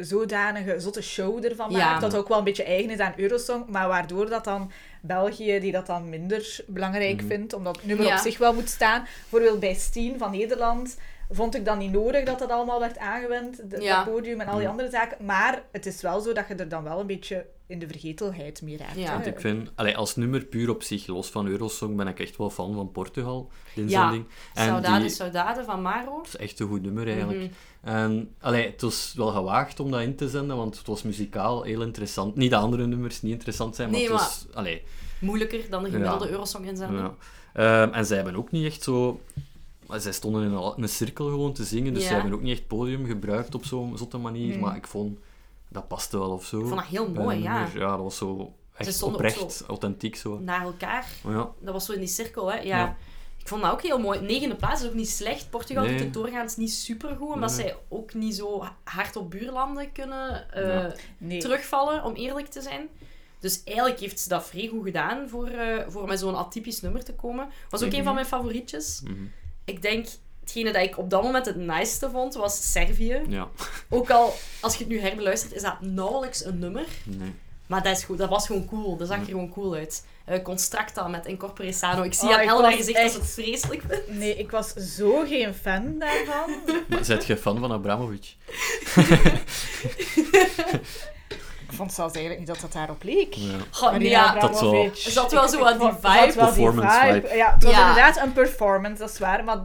S3: zodanige zotte show ervan
S2: Ja.
S3: maakt, dat ook wel een beetje eigen is aan Eurosong, maar waardoor dat dan België, die dat dan minder belangrijk vindt, omdat het nummer
S2: Ja.
S3: op zich wel moet staan. Bijvoorbeeld bij Steen van Nederland vond ik dan niet nodig dat dat allemaal werd aangewend, de-
S2: Ja.
S3: dat podium en al die
S1: Ja.
S3: andere zaken, maar het is wel zo dat je er dan wel een beetje in de vergetelheid meer raakt.
S2: Ja.
S3: hè.
S1: Want ik vind, allee, als nummer puur op zich, los van Eurosong, ben ik echt wel fan van Portugal. De inzending. en
S2: Saudade,
S1: die
S2: Saudade van Maro.
S1: is echt een goed nummer eigenlijk.
S2: Mhm.
S1: En allee, het was wel gewaagd om dat in te zenden, want het was muzikaal heel interessant. Niet dat andere nummers niet interessant zijn, maar
S2: Nee,
S1: het was. Allee,
S2: moeilijker dan de gemiddelde Eurosong-inzending.
S1: Ja. Ehm, en zij hebben ook niet echt zo... maar Zij stonden in een, een cirkel gewoon te zingen, dus
S2: Ja. Mhm.
S1: zij hebben ook niet echt podium gebruikt op zo'n zotte manier. Maar ik vond, dat paste wel of zo.
S2: Ik vond dat heel
S1: Bij
S2: mooi,
S1: een
S2: ja.
S1: nummer. Ja, dat was zo echt
S2: stonden ook Mhm.
S1: oprecht, authentiek zo.
S2: Naar elkaar.
S1: Maar ja,
S2: Dat was zo in die cirkel, hè. Ja.
S1: Ja.
S2: Ik vond dat ook heel mooi. Negende plaats is ook niet slecht. Portugal
S1: Nee.
S2: doet het doorgaans niet supergoed, omdat
S1: Nee.
S2: zij ook niet zo hard op buurlanden kunnen eh,
S1: Ja.
S3: Nee.
S2: terugvallen, om eerlijk te zijn. Dus eigenlijk heeft ze dat vrij goed gedaan voor, eh, voor met zo'n atypisch nummer te komen. Was ook een van mijn favorietjes. Ik denk, hetgene dat ik op dat moment het naaiste vond, was Servië.
S1: ja.
S2: Ook al, als je het nu herbeluistert, is dat nauwelijks een nummer.
S1: Nee.
S2: Maar dat, is goed, dat was gewoon cool. Dat zag er gewoon cool uit. Eh Constracta met Incorpore Sano. Ik zie
S3: Oh,
S2: aan
S3: ik
S2: Elda
S3: was
S2: gezicht dat ze het
S3: echt-
S2: vreselijk vindt.
S3: Nee, ik was zo geen fan daarvan.
S1: Maar zijt jij fan van Abramovic?
S3: ik vond zelfs eigenlijk niet dat dat daarop leek.
S1: Ja.
S2: Goh, nee, ja,
S1: Abramovic.
S3: Abramovic.
S1: Dat
S2: zal- zat wel
S3: Ik-
S2: zo
S3: ik
S2: aan die
S3: vond- zat wel die
S1: Performance vibe.
S3: Ja, het was
S2: Ja.
S3: inderdaad een performance, dat is waar. Maar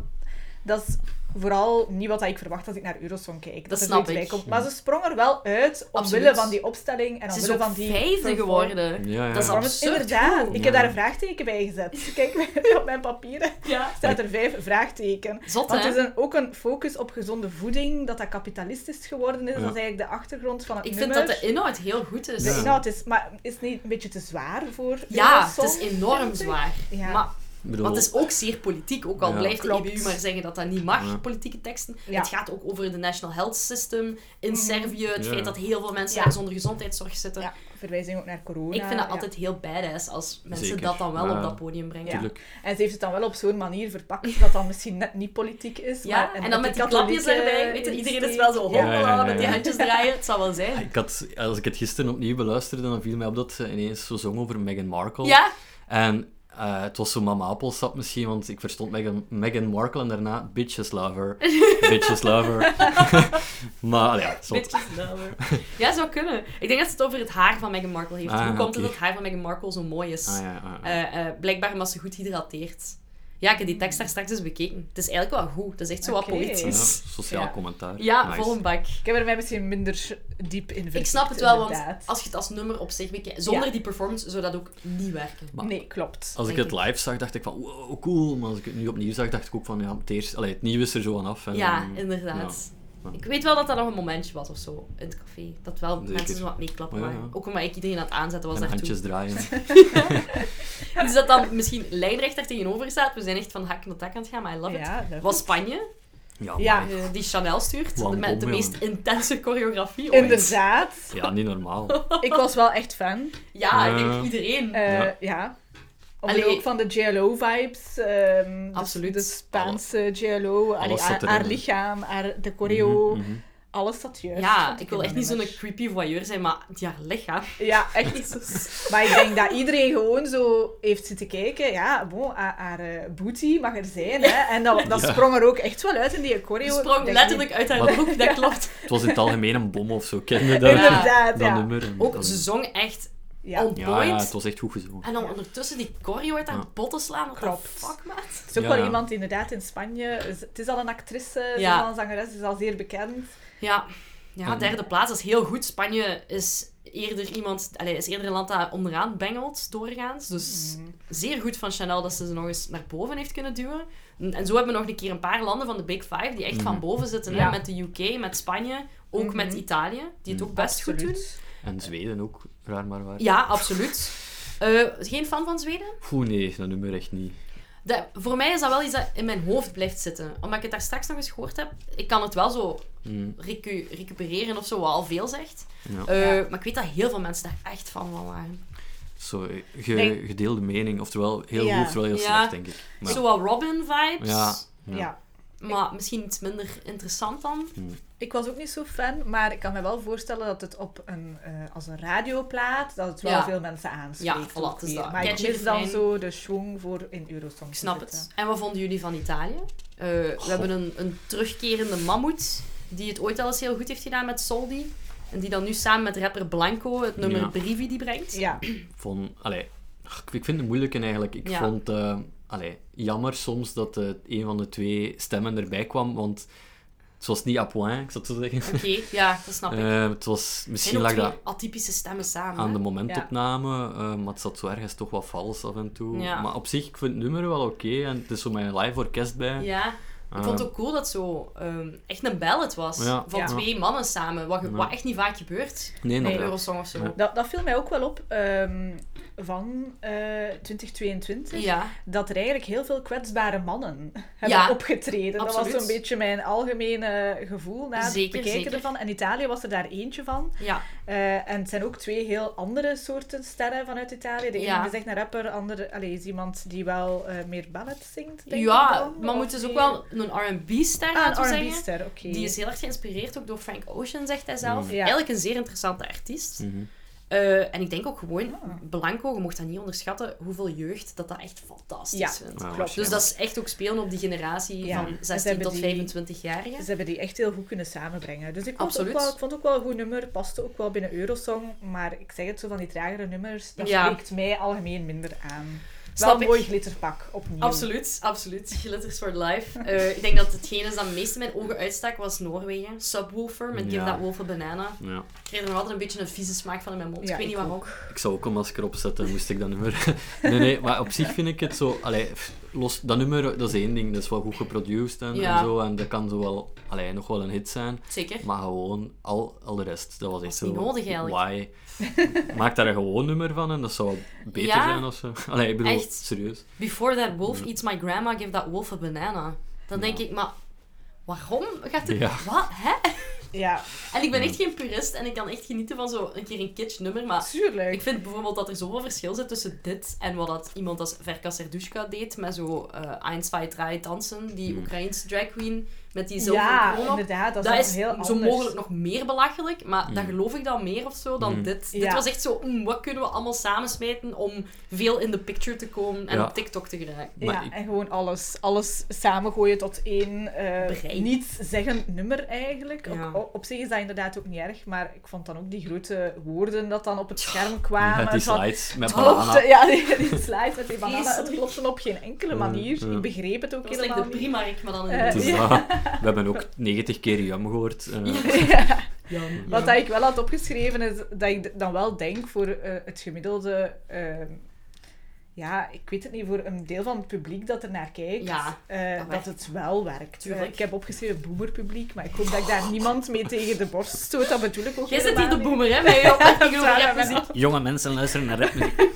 S3: dat is vooral niet wat ik verwacht als ik naar Eurosong kijk. Dat,
S2: Dat
S3: er
S2: snap
S3: zoiets
S2: ik.
S3: bij komt. Maar ze sprong er wel uit, omwille
S2: Absoluut.
S3: van die opstelling en
S2: ze is
S3: omwille
S2: ook
S3: van die
S2: vijfde
S3: perform-
S1: Ja,
S2: geworden.
S1: ja.
S2: Dat is
S1: Maar
S3: Performance.
S2: absurd
S3: Inderdaad,
S2: goed.
S3: ik
S1: Ja.
S3: heb daar een vraagteken bij gezet. Kijk op mijn papieren.
S2: Ja.
S3: staat er vijf vraagteken.
S2: Zot,
S3: Want
S2: hè?
S3: het is een- ook een focus op gezonde voeding, dat dat kapitalistisch geworden is.
S1: Ja.
S3: Dat is eigenlijk de achtergrond van het
S2: Ik vind
S3: nummer.
S2: dat de inhoud heel goed is.
S3: De
S1: Ja.
S3: inhoud is, maar is het niet een beetje te zwaar voor
S2: Ja,
S3: Eurosong?
S2: het is enorm zwaar.
S3: Ja.
S2: Maar
S1: Ik bedoel,
S2: want het is ook zeer politiek, ook al
S1: Ja.
S2: blijft de
S3: Klopt.
S2: EBU maar zeggen dat dat niet mag,
S1: Ja.
S2: politieke teksten.
S3: Ja. Mhm.
S2: Het gaat ook over de National Health System in Servië, het
S1: Ja.
S2: feit dat heel veel mensen
S3: Ja.
S2: zonder gezondheidszorg zitten.
S3: Ja, verwijzing ook naar corona.
S2: Ik vind dat
S3: ja.
S2: altijd heel badass als mensen
S1: Zeker.
S2: dat dan wel
S1: Ja.
S2: op dat podium brengen.
S3: Ja.
S1: natuurlijk.
S3: En ze heeft het dan wel op zo'n manier verpakt dat dan misschien net niet politiek is.
S2: Ja,
S3: maar,
S2: en, dan met die klapjes
S3: katholieke
S2: erbij. Weet je, iedereen is
S3: insteek.
S2: wel zo hoppel
S1: Ja, ja, ja,
S2: met die
S1: ja.
S2: handjes draaien. Het zal wel zijn.
S1: Ik had, als ik het gisteren opnieuw beluisterde, dan viel mij op dat ze ineens zo zong over Meghan Markle.
S2: Ja,
S1: En eh, het was zo mama appelsap misschien, want ik verstond Meghan, Meghan Markle en daarna bitches lover. bitches lover. maar allee, ja, zot.
S2: bitches lover. Ja, zou kunnen. Ik denk dat ze het over het haar van Meghan Markle heeft.
S1: Ah,
S2: Hoe komt het
S1: oké.
S2: dat het haar van Meghan Markle zo mooi is?
S1: Ah, ja, ah, ah.
S2: Eh, eh, blijkbaar omdat ze goed hydrateert. Ja, ik heb die tekst daar straks eens bekeken. Het is eigenlijk wel goed. Het is echt zo wat
S3: Oké.
S1: Ja,
S2: poëtisch.
S1: sociaal
S3: Ja.
S1: commentaar.
S2: Ja,
S1: Nice.
S2: vol een bak.
S3: Ik heb er mij misschien minder diep in
S2: Ik
S3: verdiept,
S2: snap het wel,
S3: inderdaad.
S2: want als je het als nummer op zich bekijkt, zonder
S3: Ja.
S2: die performance zou dat ook niet werken.
S1: Maar
S3: Nee, klopt.
S1: Als ik
S2: denk
S1: het live zag, dacht ik van, wow, cool. Maar als ik het nu opnieuw zag, dacht ik ook van, ja, het, eerste, allee, het nieuwe is er zo aan af. En,
S2: Ja,
S1: dan-
S2: inderdaad.
S1: ehm, Ja.
S2: Ik weet wel dat dat nog een momentje was of zo in het café. Dat wel
S1: Zeker.
S2: mensen zo wat meeklappen
S1: Ja, ja.
S2: waren. Ook omdat ik iedereen aan het aanzetten was
S1: en handjes
S2: daartoe.
S1: draaien.
S2: Dus dat dan misschien lijnrecht daar tegenover staat. We zijn echt van hak naar tak aan het gaan, maar I love it.
S3: Ja, dat-
S2: Was Spanje,
S1: Ja,
S3: Ja.
S1: maar-
S2: eh, die Chanel stuurt,
S1: Wat een
S2: met de
S1: bom,
S2: meest intense choreografie ooit.
S3: Inderdaad.
S1: ja, niet normaal.
S3: Ik was wel echt fan.
S2: Ja,
S1: Ja.
S2: ik denk iedereen.
S3: Eh,
S1: Ja.
S3: ja.
S2: Allee.
S3: Allee, ook van de JLO-vibes.
S2: Absoluut.
S3: ehm, dus De, Spaanse JLO. Allee,
S1: zat
S3: haar,
S1: erin,
S3: haar
S1: hè.
S3: lichaam, haar, de choreo.
S1: Mhm, mhm.
S3: Alles zat juist.
S2: ja, ik
S3: vond in
S2: wil echt
S3: dat
S2: niet zo'n
S3: nummer.
S2: creepy voyeur zijn, maar die haar lichaam.
S3: Ja, echt.
S2: Jezus.
S3: Maar ik denk dat iedereen gewoon zo heeft zitten kijken. Ja, bon, haar, haar eh, booty mag er zijn. Hè? En dat, dat
S1: Ja.
S3: sprong er ook echt wel uit in die
S2: Die
S3: choreo. Ik
S2: sprong
S3: denk
S2: letterlijk uit haar
S1: Wat-
S2: broek, dat klopt.
S1: Het was in het algemeen een bom of zo, ken je dat?
S3: niet- Inderdaad,
S1: Dat
S3: ja.
S1: nummer. en-
S2: Ook, ze zong echt
S3: Ja.
S2: on
S1: ja, ja,
S2: point.
S1: het was echt goed gezongen.
S2: En dan ondertussen die choreo uit haar
S1: Ja.
S2: botten slaan. What
S3: Klopt.
S2: the fuck, maat?
S3: Het is ook
S1: Ja,
S3: wel
S1: ja.
S3: iemand die inderdaad in Spanje... is- Het is al een actrice, ze is
S2: Ja.
S3: al een zangeres, ze is al zeer bekend.
S2: Ja. ja,
S1: En-
S3: Ehm.
S2: derde plaats dat is heel goed. Spanje is eerder, iemand, allee, is eerder een land dat onderaan bengelt, doorgaans. Dus
S3: Mhm.
S2: zeer goed van Chanel dat ze ze nog eens naar boven heeft kunnen duwen. En en zo hebben we nog een keer een paar landen van de Big Five die echt van boven zitten. hè.
S3: Mhm. Ja.
S2: Met de UK, met Spanje, ook
S3: Mhm.
S2: met Italië, die het ook best goed doen.
S1: En Zweden ook, raar maar waar.
S2: Ja, absoluut. Eh, geen fan van Zweden?
S1: Oeh, nee, dat nummer echt niet.
S2: Dat- voor mij is dat wel iets dat in mijn hoofd blijft zitten. Omdat ik het daar straks nog eens gehoord heb, ik kan het wel zo
S1: Mm.
S2: recu- recupereren of zo, wat al veel zegt.
S1: Ja.
S2: Eh, Maar ik weet dat heel veel mensen daar echt van van waren.
S1: Zo, eh, ge-
S3: Nee.
S1: gedeelde mening, oftewel heel
S3: Ja.
S1: goed, oftewel heel
S2: Ja.
S1: slecht, denk ik. Maar,
S2: Zo wat Robin-vibes,
S1: ja,
S3: Ja.
S1: ja.
S2: maar misschien iets minder interessant dan.
S1: mm,
S3: Ik was ook niet zo fan, maar ik kan me wel voorstellen dat het op een, eh, als een radioplaat, dat het wel
S2: Ja.
S3: veel mensen aanspreekt.
S2: Ja, voilà,
S3: ook
S2: het is
S3: weer.
S2: dat.
S3: Maar ik
S2: Catchy
S3: mis dan
S2: refrein.
S3: zo de schwung voor in Eurosong.
S2: Ik snap het. En wat vonden jullie van Italië? Eh, we hebben een, een terugkerende mammoet die het ooit al eens heel goed heeft gedaan met Soldi. En die dan nu samen met rapper Blanco het nummer
S1: Ja.
S2: Brivi die brengt.
S3: Ja,
S1: Van, allee, ach, ik vind het moeilijk en eigenlijk. Ik
S2: Ja.
S1: vond eh allee, jammer soms dat eh, een van de twee stemmen erbij kwam, want Het was niet à point, ik zou het zo zeggen.
S2: Oké, ja, dat snap ik. Het
S1: Eh, het was, misschien
S2: zijn ook
S1: lag
S2: twee
S1: dat
S2: atypische stemmen samen.
S1: aan
S2: hè?
S1: de momentopname, eh, maar het zat zo ergens toch wat vals af en toe.
S2: Ja.
S1: Maar op zich, ik vind het nummer wel oké en het is zo mijn live orkest bij.
S2: Ja. Ik
S1: Eh,
S2: vond het ook cool dat zo ehm, echt een ballad was.
S1: Ja.
S2: Van
S3: Ja.
S2: twee mannen samen. Wat, ge-
S1: Ja.
S2: wat echt niet vaak gebeurt.
S1: Nee,
S2: Bij
S1: inderdaad.
S2: Eurosong of zo.
S1: Ja.
S3: Dat, dat viel mij ook wel op ehm, van eh, 2022.
S2: Ja.
S3: dat er eigenlijk heel veel kwetsbare mannen hebben
S2: Ja,
S3: opgetreden. Dat
S2: absoluut.
S3: was zo'n beetje mijn algemene gevoel na het
S2: Zeker,
S3: bekijken
S2: zeker.
S3: ervan. En Italië was er daar eentje van.
S2: Ja.
S3: Eh, en het zijn ook twee heel andere soorten sterren vanuit Italië. De ene
S2: Ja.
S3: is echt een rapper, de andere allee, is iemand die wel eh, meer ballet zingt, denk ik
S2: ja,
S3: dan.
S2: maar
S3: Of
S2: moet dus ook
S3: die-
S2: wel een R&B-ster,
S3: Ah,
S2: laten we
S3: een
S2: zeggen.
S3: R&B-ster, oké.
S2: Die is heel erg geïnspireerd ook door Frank Ocean, zegt hij zelf.
S3: Ja.
S2: Eigenlijk een zeer interessante artiest.
S1: Mhm.
S2: Eh, en ik denk ook gewoon,
S3: Ah.
S2: Blanco, je mocht dat niet onderschatten, hoeveel jeugd dat dat echt fantastisch
S3: Ja.
S2: vindt.
S1: Ja,
S2: Dus
S3: Klopt.
S1: Ah, waarschijnlijk.
S2: dat is echt ook spelen op die generatie
S3: Ja.
S2: van
S3: En ze
S2: 16
S3: hebben
S2: tot
S3: die-
S2: 25-jarigen.
S3: Dus Ze hebben die echt heel goed kunnen samenbrengen. Dus ik vond, het ook
S2: Absoluut.
S3: wel, ik vond het ook wel een goed nummer. Paste ook wel binnen Eurosong. Maar ik zeg het zo van die tragere nummers. Dat
S2: Ja.
S3: spreekt mij algemeen minder aan.
S2: Snap
S3: wel een
S2: ik.
S3: mooi glitterpak opnieuw.
S2: Absoluut, absoluut. Glitters for life. Eh, ik denk dat hetgene is dat meest in mijn ogen uitstak was Noorwegen. Subwoofer met Give
S1: Ja.
S2: That Wolf a Banana.
S1: Ja.
S2: Ik kreeg er nog altijd een beetje een vieze smaak van in mijn mond.
S3: Ja,
S2: ik weet niet
S3: ik
S2: waarom.
S1: Ik zou ook een masker opzetten, moest ik dat nummer... nee, nee, maar op zich vind ik het zo... Allee, pff, los, dat nummer, dat is één ding. Dat is wel goed geproduced en,
S2: Ja.
S1: en zo. En dat kan zo wel... Allee, nog wel een hit zijn.
S2: Zeker.
S1: Maar gewoon, al, al de rest, dat was echt
S2: is niet
S1: zo...
S2: nodig eigenlijk.
S1: Why? Maak daar een gewoon nummer van en dat zou beter
S2: Ja.
S1: zijn of zo. Allee, ik bedoel,
S2: Echt.
S1: serieus.
S2: Before that wolf eats my grandma, give that wolf a banana. Dan denk ik, maar waarom gaat dit...
S1: Ja.
S2: Wat? Hè?
S3: Ja,
S2: En ik ben echt geen purist en ik kan echt genieten van zo een keer een kitsch nummer, maar...
S3: tuurlijk.
S2: Ik vind bijvoorbeeld dat er zoveel verschil zit tussen dit en wat dat iemand als Verka Serdushka deed met zo eh 1, 2, 3 dansen, die Oekraïense drag queen met die zilveren
S3: Hmm. ja,
S2: kroon op.
S3: inderdaad. Dat,
S2: Dat
S3: is
S2: is
S3: heel anders. Hmm.
S2: zo mogelijk nog meer belachelijk, maar dat geloof ik dan meer of zo dan dit. Dit
S3: Ja.
S2: was echt zo, mm, wat kunnen we allemaal samensmijten om veel in de picture te komen en
S1: Ja.
S2: op TikTok te geraken.
S1: Maar
S3: ja,
S1: ik-
S3: en gewoon alles, alles samengooien tot één eh
S2: Bereik.
S3: niets zeggen nummer eigenlijk. Ook-
S2: Ja.
S3: o- op zich is dat inderdaad ook niet erg, maar ik vond dan ook die grote woorden dat dan op het scherm kwamen.
S1: Ja, die
S3: van-
S1: slides met
S3: Hoogte,
S1: banana.
S3: ja, die, die slides met die bananen, het
S2: Vreselijk.
S3: klopte op geen enkele
S1: Mm,
S3: manier.
S1: ja.
S3: Ik begreep het ook
S2: Dat was like de
S3: helemaal niet.
S2: Primark, maar dan in
S3: Eh,
S2: de
S1: Het is
S3: Ja.
S1: dat. We hebben ook 90 keer jam gehoord. eh.
S3: Ja.
S2: Jan.
S3: Wat dat ik wel had opgeschreven is dat ik dan wel denk voor eh, het gemiddelde... ehm, ja, ik weet het niet, voor een deel van het publiek dat er naar kijkt,
S2: Ja,
S3: eh,
S2: dat
S3: dat,
S2: werkt.
S3: het wel werkt.
S2: Tuurlijk.
S3: Eh, ik heb opgeschreven boemerpubliek, maar ik hoop dat ik daar niemand mee tegen de borst stoot. Dat bedoel ik ook
S2: Jij zit hier
S3: helemaal
S2: de
S3: niet.
S2: boomer, hè? Bij je opmerking over
S3: Sarah,
S2: rapmuziek.
S1: Jonge mensen luisteren naar rapmuziek.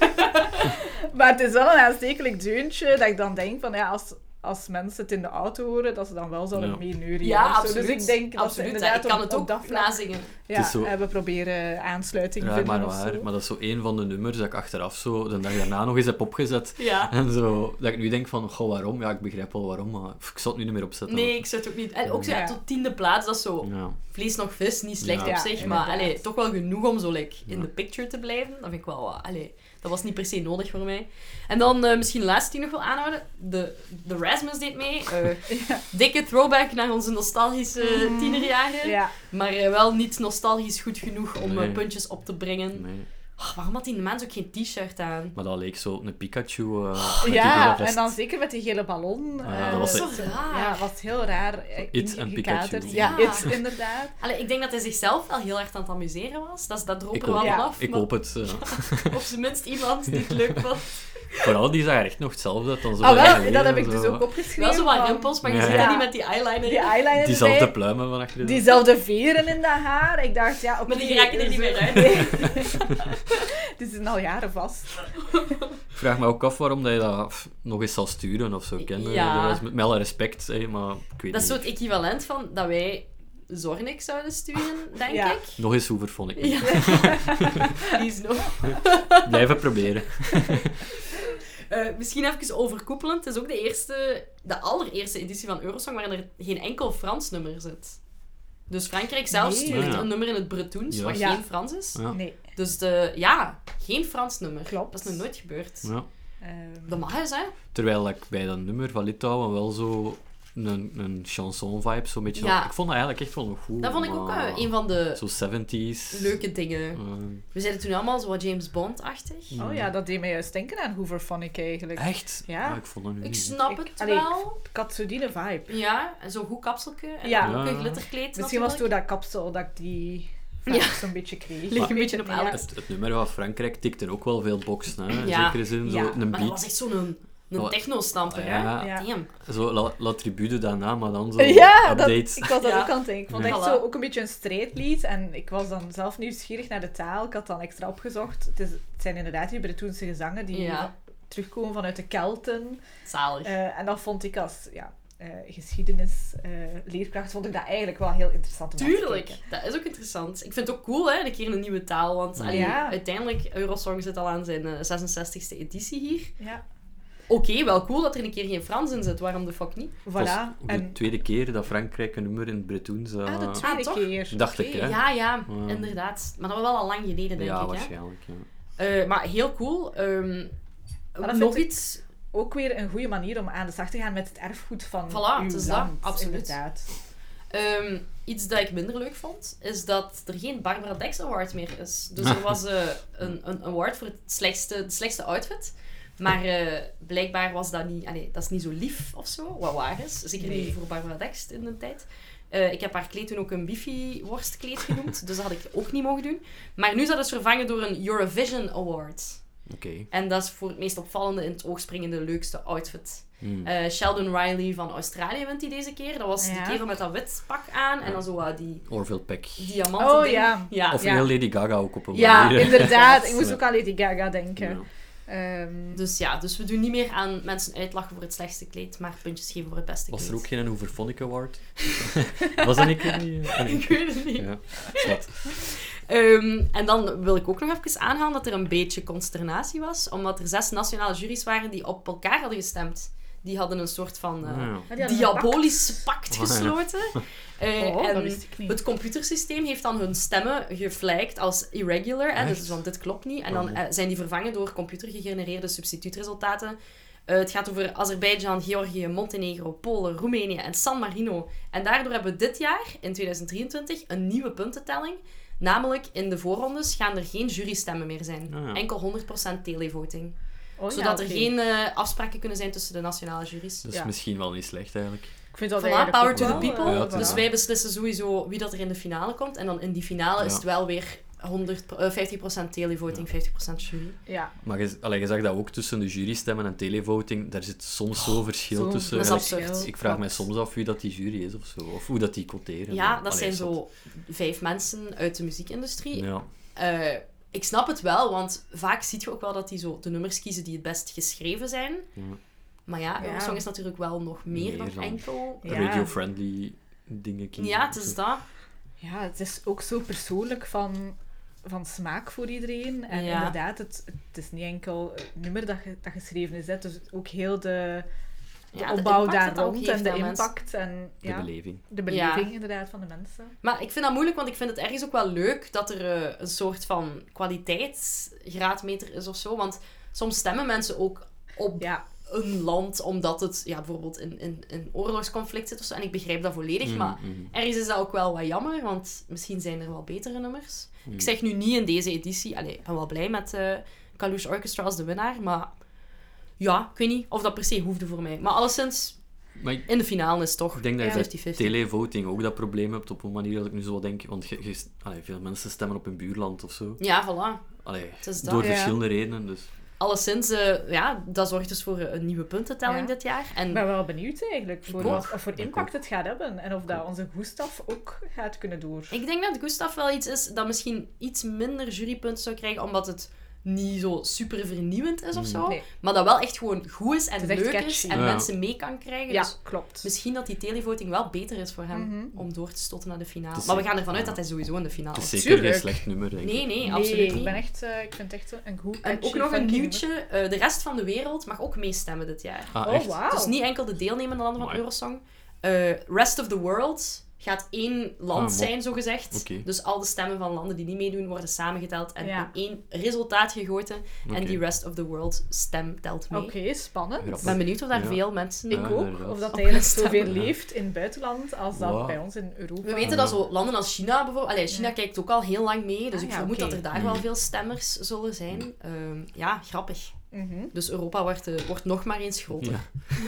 S3: Maar het is wel een aanstekelijk deuntje dat ik dan denk van ja, als, als mensen het in de auto horen, dat ze dan wel zouden
S1: Ja.
S3: meeneuren.
S2: Ja,
S3: of zo.
S2: absoluut.
S3: Dus ik denk dat ze
S2: absoluut. hè.
S3: inderdaad
S2: ik kan
S3: op-
S2: het
S3: op
S2: ook
S3: dat vlak-
S2: nazingen.
S3: Ja,
S1: Het is zo-
S3: eh, we proberen aansluiting te
S1: Ja,
S3: vinden
S1: maar
S3: of
S1: waar.
S3: zo.
S1: Maar dat is zo één van de nummers dat ik achteraf zo de dag daarna nog eens heb opgezet.
S2: Ja.
S1: En zo, dat ik nu denk van, goh, waarom? Ja, ik begrijp wel waarom, maar pff, ik zal het nu niet meer opzetten.
S2: Nee, ik zou het ook niet. En ook zo, ja,
S3: Ja.
S2: tot tiende plaats, dat is zo.
S1: Ja.
S2: Vlees nog vis, niet slecht
S1: Ja,
S2: op zich, maar
S3: inderdaad.
S2: allee, toch wel genoeg om zo like, in
S1: Ja.
S2: de picture te blijven. Dat vind ik wel. wat- allee, dat was niet per se nodig voor mij. En dan eh, misschien de laatste die nog wil aanhouden. De, de Rasmus deed mee. Eh, Dikke throwback naar onze nostalgische tienerjaren.
S3: Mm-hmm. Ja,
S2: Maar eh, wel niet nostalgisch goed genoeg om eh,
S1: Nee.
S2: puntjes op te brengen.
S1: Nee.
S2: Ah, waarom had die mens ook geen t-shirt aan?
S1: Maar dat leek zo een Pikachu. eh, met die gele
S3: Oh, ja
S1: vest.
S3: en dan zeker met die gele ballon.
S1: Ah,
S3: eh,
S1: dat was
S2: echt- Zo raar.
S3: Ja, was heel raar. eh,
S1: It en
S3: ingekaderd.
S1: Pikachu.
S3: Ja,
S2: Ja.
S3: It, inderdaad.
S2: Allee, ik denk dat hij zichzelf wel heel erg aan het amuseren was. Dat, is- dat droop
S1: Ik
S2: er wel
S1: hoop-
S3: ja,
S2: af.
S1: Ik
S2: maar
S1: hoop het. eh.
S2: Op zijn minst iemand die het leuk vond.
S1: Vooral die zag er echt nog hetzelfde uit. Dan zo
S3: Ah,
S1: lang
S3: wel,
S1: geleden,
S3: dat heb ik
S1: zo.
S3: dus ook opgeschreven.
S2: Wel zo wat
S3: van
S2: rimpels, maar je ziet
S1: Ja.
S2: dat niet met die eyeliner.
S3: Die eyeliner
S1: Diezelfde
S3: erbij,
S1: pluimen van achter de...
S3: diezelfde veren in dat haar. Ik dacht, ja, oké.
S2: Maar die raken er niet meer uit.
S3: Die zitten al jaren vast.
S1: Ik vraag me ook af waarom dat je dat pff, nog eens zal sturen of zo. Ken.
S2: Ja.
S1: Dat is met, met alle respect, hè, maar ik weet
S2: Dat is zo
S1: niet.
S2: het equivalent van dat wij Zornik zouden sturen, denk
S3: Ja.
S2: ik.
S1: Nog eens hoeverfon ik.
S2: Ja. Die is nog.
S1: Blijven proberen.
S2: Eh, misschien even overkoepelend. Het is ook de eerste, de allereerste editie van Eurosong waarin er geen enkel Frans nummer zit. Dus Frankrijk zelf
S3: Nee.
S2: stuurt
S1: Ah, Ja.
S2: een nummer in het Bretoens,
S1: Ja.
S2: wat
S3: Ja.
S2: geen Frans is.
S1: Ja.
S3: Nee.
S2: Dus de, ja, geen Frans nummer.
S3: Klopt.
S2: Dat is nog nooit gebeurd.
S1: Ja.
S3: ehm,
S2: Dat mag eens, hè?
S1: Terwijl ik bij dat nummer van Litouwen wel zo een, een chanson-vibe, zo'n beetje.
S2: Ja.
S1: Ik vond dat eigenlijk echt wel een goed.
S2: Dat vond ik ook
S1: maar-
S2: eh, een van de
S1: Zo 70s.
S2: leuke dingen.
S1: Ehm,
S2: We zeiden toen allemaal zo wat James Bond-achtig.
S3: Oh ja, dat deed mij juist denken aan Hooverphonic eigenlijk.
S1: echt?
S3: Ja.
S1: Ah, ik vond dat nu
S2: Ik
S1: niet.
S2: snap
S3: Ik-
S2: het
S3: allee,
S2: wel.
S3: Ik had zo die vibe.
S2: Ja, en zo'n goed kapselke. En
S3: Ja.
S2: ook
S1: Ja.
S2: een glitterkleed
S3: Misschien was het door
S2: natuurlijk.
S3: dat kapsel dat ik die
S2: Ja.
S3: ja. zo'n beetje kreeg.
S2: Ligt
S3: Ik
S2: een
S3: weet
S2: beetje
S3: het
S2: op
S3: niet, ja.
S2: Alex.
S1: Het, het nummer van Frankrijk tikte ook wel veel boxen, hè. In
S2: Ja.
S1: zekere zin, zo
S3: Ja.
S1: een
S2: Maar dat
S1: beat.
S2: was echt zo'n een
S1: Oh.
S2: techno-stamper, hè?
S1: Ja.
S3: Ja.
S2: Damn.
S1: Zo, la, la tribune daarna, maar dan zo
S3: Ja, dat,
S1: updates.
S3: ik was dat
S2: Ja.
S3: ook aan het denken. Ik vond het echt
S2: Voilà.
S3: zo ook een beetje een strijdlied. En ik was dan zelf nieuwsgierig naar de taal. Ik had dan extra opgezocht. Het, is, het zijn inderdaad die Bretonse gezangen die
S2: Ja.
S3: terugkomen vanuit de Kelten.
S2: Zalig.
S3: Eh, en dat vond ik als ja, geschiedenisleerkracht leerkracht vond ik dat eigenlijk wel heel interessant om naar te
S2: Tuurlijk,
S3: kijken.
S2: dat is ook interessant. Ik vind het ook cool, hè, een keer een nieuwe taal. Want allee,
S3: Ja.
S2: uiteindelijk, Eurosong zit al aan zijn eh, 66e editie hier.
S3: Ja,
S2: Oké, wel cool dat er een keer geen Frans in zit. Waarom de fuck niet?
S1: Het was
S3: voilà.
S1: ook de
S3: En
S1: tweede keer dat Frankrijk een nummer in het Bretoens... eh,
S3: ah, de
S2: Ah,
S3: tweede
S2: toch?
S3: keer.
S1: Dacht ik,
S3: Oké.
S1: hè?
S2: Ja, ja,
S1: Ja.
S2: inderdaad. Maar dat was wel al lang geleden, denk
S1: ja,
S2: ik. Hè?
S1: waarschijnlijk. Ja.
S2: Eh, maar heel cool. Ehm,
S3: dat vind
S2: nog
S3: ik-
S2: iets.
S3: Ook weer een goede manier om aan de slag te gaan met het erfgoed van
S2: Voilà,
S3: uw
S2: het is dat,
S3: land.
S2: absoluut.
S3: Inderdaad.
S2: ehm, iets dat ik minder leuk vond, is dat er geen Barbara Dex Award meer is. Dus er was eh, een, een award voor het slechtste, de slechtste outfit. Maar eh, blijkbaar was dat niet, allee, dat is niet zo lief of zo, wat waar is. Zeker
S3: Nee.
S2: niet voor Barbara Dex in de tijd. Eh, ik heb haar kleed toen ook een bifi-worstkleed genoemd, dus dat had ik ook niet mogen doen. Maar nu is dat dus vervangen door een Eurovision Award.
S1: Oké.
S2: En dat is voor het meest opvallende, in het oog springende, leukste outfit.
S1: Hmm.
S2: Eh, Sheldon Riley van Australië wint die deze keer. Dat was die
S3: Ja.
S2: kerel met dat wit pak aan en dan zo wat die
S1: Orville Peck.
S2: diamanten
S3: Oh
S2: ding.
S3: ja.
S2: ja.
S1: Of
S3: ja.
S1: heel Lady Gaga ook op een
S2: Ja,
S1: manier.
S3: Inderdaad, ik
S1: Ja.
S3: moest ook aan Lady Gaga
S1: Ja.
S3: denken. Ehm,
S2: Dus ja, dus we doen niet meer aan mensen uitlachen voor het slechtste kleed, maar puntjes geven voor het beste
S1: Was
S2: kleed.
S1: er ook geen Hooverphonic Award? Was dat een keer niet? Ah, nee.
S2: Ik weet het niet.
S1: Ja, zwart.
S2: Ehm, en dan wil ik ook nog even aanhalen dat er een beetje consternatie was, omdat er zes nationale juries waren die op elkaar hadden gestemd. Die hadden een soort van eh,
S1: Ah,
S3: maar die hadden een
S2: diabolisch pact
S1: Oh, ja.
S2: gesloten. Eh,
S3: Oh, dat
S2: en
S3: wist ik niet.
S2: Het computersysteem heeft dan hun stemmen geflagged als irregular, hè, dus
S1: Echt?
S2: want dit klopt niet. En dan
S1: Oh.
S2: eh, zijn die vervangen door computergegenereerde substituutresultaten. Eh, het gaat over Azerbeidzjan, Georgië, Montenegro, Polen, Roemenië en San Marino. En daardoor hebben we dit jaar, in 2023, een nieuwe puntentelling. Namelijk, in de voorrondes gaan er geen jurystemmen meer zijn.
S1: Ah, ja.
S2: Enkel 100% televoting.
S3: oh ja,
S2: zodat er
S3: oké.
S2: geen eh, afspraken kunnen zijn tussen de nationale juries.
S1: Dat is
S3: Ja.
S1: misschien wel niet slecht eigenlijk.
S3: Ik vind dat
S2: Voilà,
S3: eigenlijk
S2: power
S3: ook
S2: to the
S3: wel,
S2: people.
S3: eh,
S1: Ja,
S2: Dus
S1: voilà.
S2: wij beslissen sowieso wie dat er in de finale komt. En dan in die finale is
S1: Ja.
S2: het wel weer 100, pro- eh, 50% televoting, 50% jury.
S3: Ja,
S1: Maar je, allee, je zag dat ook tussen de jurystemmen en televoting. Daar zit soms zo'n verschil
S3: zo'n
S1: tussen.
S2: Oh, dat is
S1: En ik-
S2: absurd.
S1: Ik vraag mij soms af wie dat die jury is of zo. Of hoe dat die quoteren.
S2: Ja, dat
S1: Allee,
S2: zijn
S1: zot.
S2: zo vijf mensen uit de muziekindustrie.
S1: Ja.
S2: Eh, ik snap het wel, want vaak zie je ook wel dat die zo de nummers kiezen die het best geschreven zijn.
S1: Ja.
S2: Maar ja,
S3: Ja.
S2: Eurosong is natuurlijk wel nog meer,
S1: Meer
S2: dan,
S1: dan-
S2: enkel.
S3: Ja.
S1: Radio-friendly dingen kiezen.
S2: Ja, het is dat.
S3: ja, het is ook zo persoonlijk van, van smaak voor iedereen. En
S2: Ja.
S3: inderdaad, het, het is niet enkel het nummer dat, ge- dat geschreven is, hè. dus ook heel de, de
S2: Ja, de
S3: opbouw
S2: impact
S3: daar
S2: dat dat ook
S3: rond
S2: heeft
S3: en de
S2: aan mensen.
S3: impact en
S1: De
S3: ja,
S1: beleving.
S3: de
S2: Ja.
S3: beleving inderdaad van de mensen.
S2: Maar ik vind dat moeilijk, want ik vind het ergens ook wel leuk dat er eh, een soort van kwaliteitsgraadmeter is of zo. Want soms stemmen mensen ook op
S3: Ja,
S2: een land omdat het ja, bijvoorbeeld in, in, in oorlogsconflict zit of zo. En ik begrijp dat volledig,
S1: Mm,
S2: maar
S1: mm.
S2: ergens is dat ook wel wat jammer, want misschien zijn er wel betere nummers.
S1: Mm.
S2: Ik zeg nu niet in deze editie, allee, ik ben wel blij met eh Kalush Orchestra als de winnaar, maar ja, ik weet niet of dat per se hoefde voor mij. Maar alleszins,
S1: Maar ik-
S2: in de finale is het toch
S1: Ik denk dat je bij
S2: 50-50.
S1: televoting ook dat probleem hebt op een manier dat ik nu zo wat denk. Want je, je- allee, veel mensen stemmen op hun buurland of zo.
S2: Ja, voilà.
S1: Allee,
S2: Het is dat.
S1: door
S3: Ja.
S1: verschillende redenen. Dus.
S2: Alleszins, eh, ja, dat zorgt dus voor een nieuwe puntentelling
S3: Ja.
S2: dit jaar.
S3: ik
S2: En
S3: ben wel benieuwd eigenlijk voor
S1: ook.
S3: wat wat voor
S1: Ik
S3: impact
S1: ook.
S3: het gaat hebben en of dat onze goestaf ook gaat kunnen door.
S2: ik denk dat Gustav wel iets is dat misschien iets minder jurypunten zou krijgen, omdat het niet zo super vernieuwend is of zo.
S3: Nee.
S2: Maar dat wel echt gewoon goed is en
S3: Het is echt
S2: leuk is
S3: catchy.
S2: en
S1: Mm. Ja.
S2: mensen mee kan krijgen.
S3: Ja,
S2: Dus
S3: klopt.
S2: misschien dat die televoting wel beter is voor hem
S3: Mhm.
S2: om door te stoten naar de finale.
S1: Het is
S2: Maar we
S1: zeker-
S2: gaan ervan uit
S1: ja.
S2: dat hij sowieso in de finale
S1: Het is
S2: is.
S1: zeker geen
S3: tuurlijk.
S1: slecht nummer, denk
S2: Ah, Nee,
S1: ik.
S2: nee,
S3: Nee,
S2: absoluut
S3: ik,
S2: niet.
S3: ben echt, eh, ik vind het echt een goed
S2: En ook
S3: catchy,
S2: nog een
S3: funky
S2: nieuwtje. eh, de rest van de wereld mag ook meestemmen dit jaar.
S1: Ah,
S3: nummer.
S1: echt?
S3: Oh, wauw.
S2: Dus niet enkel de deelnemende landen van
S1: Amai.
S2: Eurosong. Eh, rest of the World gaat één land
S1: Ah, mo-
S2: zijn, zogezegd.
S1: Oké.
S2: Dus al de stemmen van landen die niet meedoen worden samengeteld en
S3: Ja.
S2: in één resultaat gegoten.
S1: Oké.
S2: En die rest of the world stem telt mee.
S3: Oké, spannend.
S1: Grappig.
S2: Ik ben benieuwd of daar
S1: Ja. Eh,
S2: veel mensen...
S1: Ja.
S3: Ik ook.
S1: inderdaad.
S3: Of dat
S2: Op
S3: eigenlijk
S2: gaan
S3: zoveel
S1: stemmen.
S3: leeft in het buitenland als dat
S1: Wow.
S3: bij ons in Europa.
S2: We
S1: eh,
S2: weten dat zo landen als China bijvoorbeeld... Allee, China kijkt ook al heel lang mee, dus
S3: Ah
S2: ik
S3: ja,
S2: vermoed
S3: oké.
S2: dat er daar
S1: Mm.
S2: wel veel stemmers zullen zijn. Ehm, ja, grappig.
S3: Mhm.
S2: Dus Europa wordt, eh, wordt nog maar eens groter.
S1: Ja.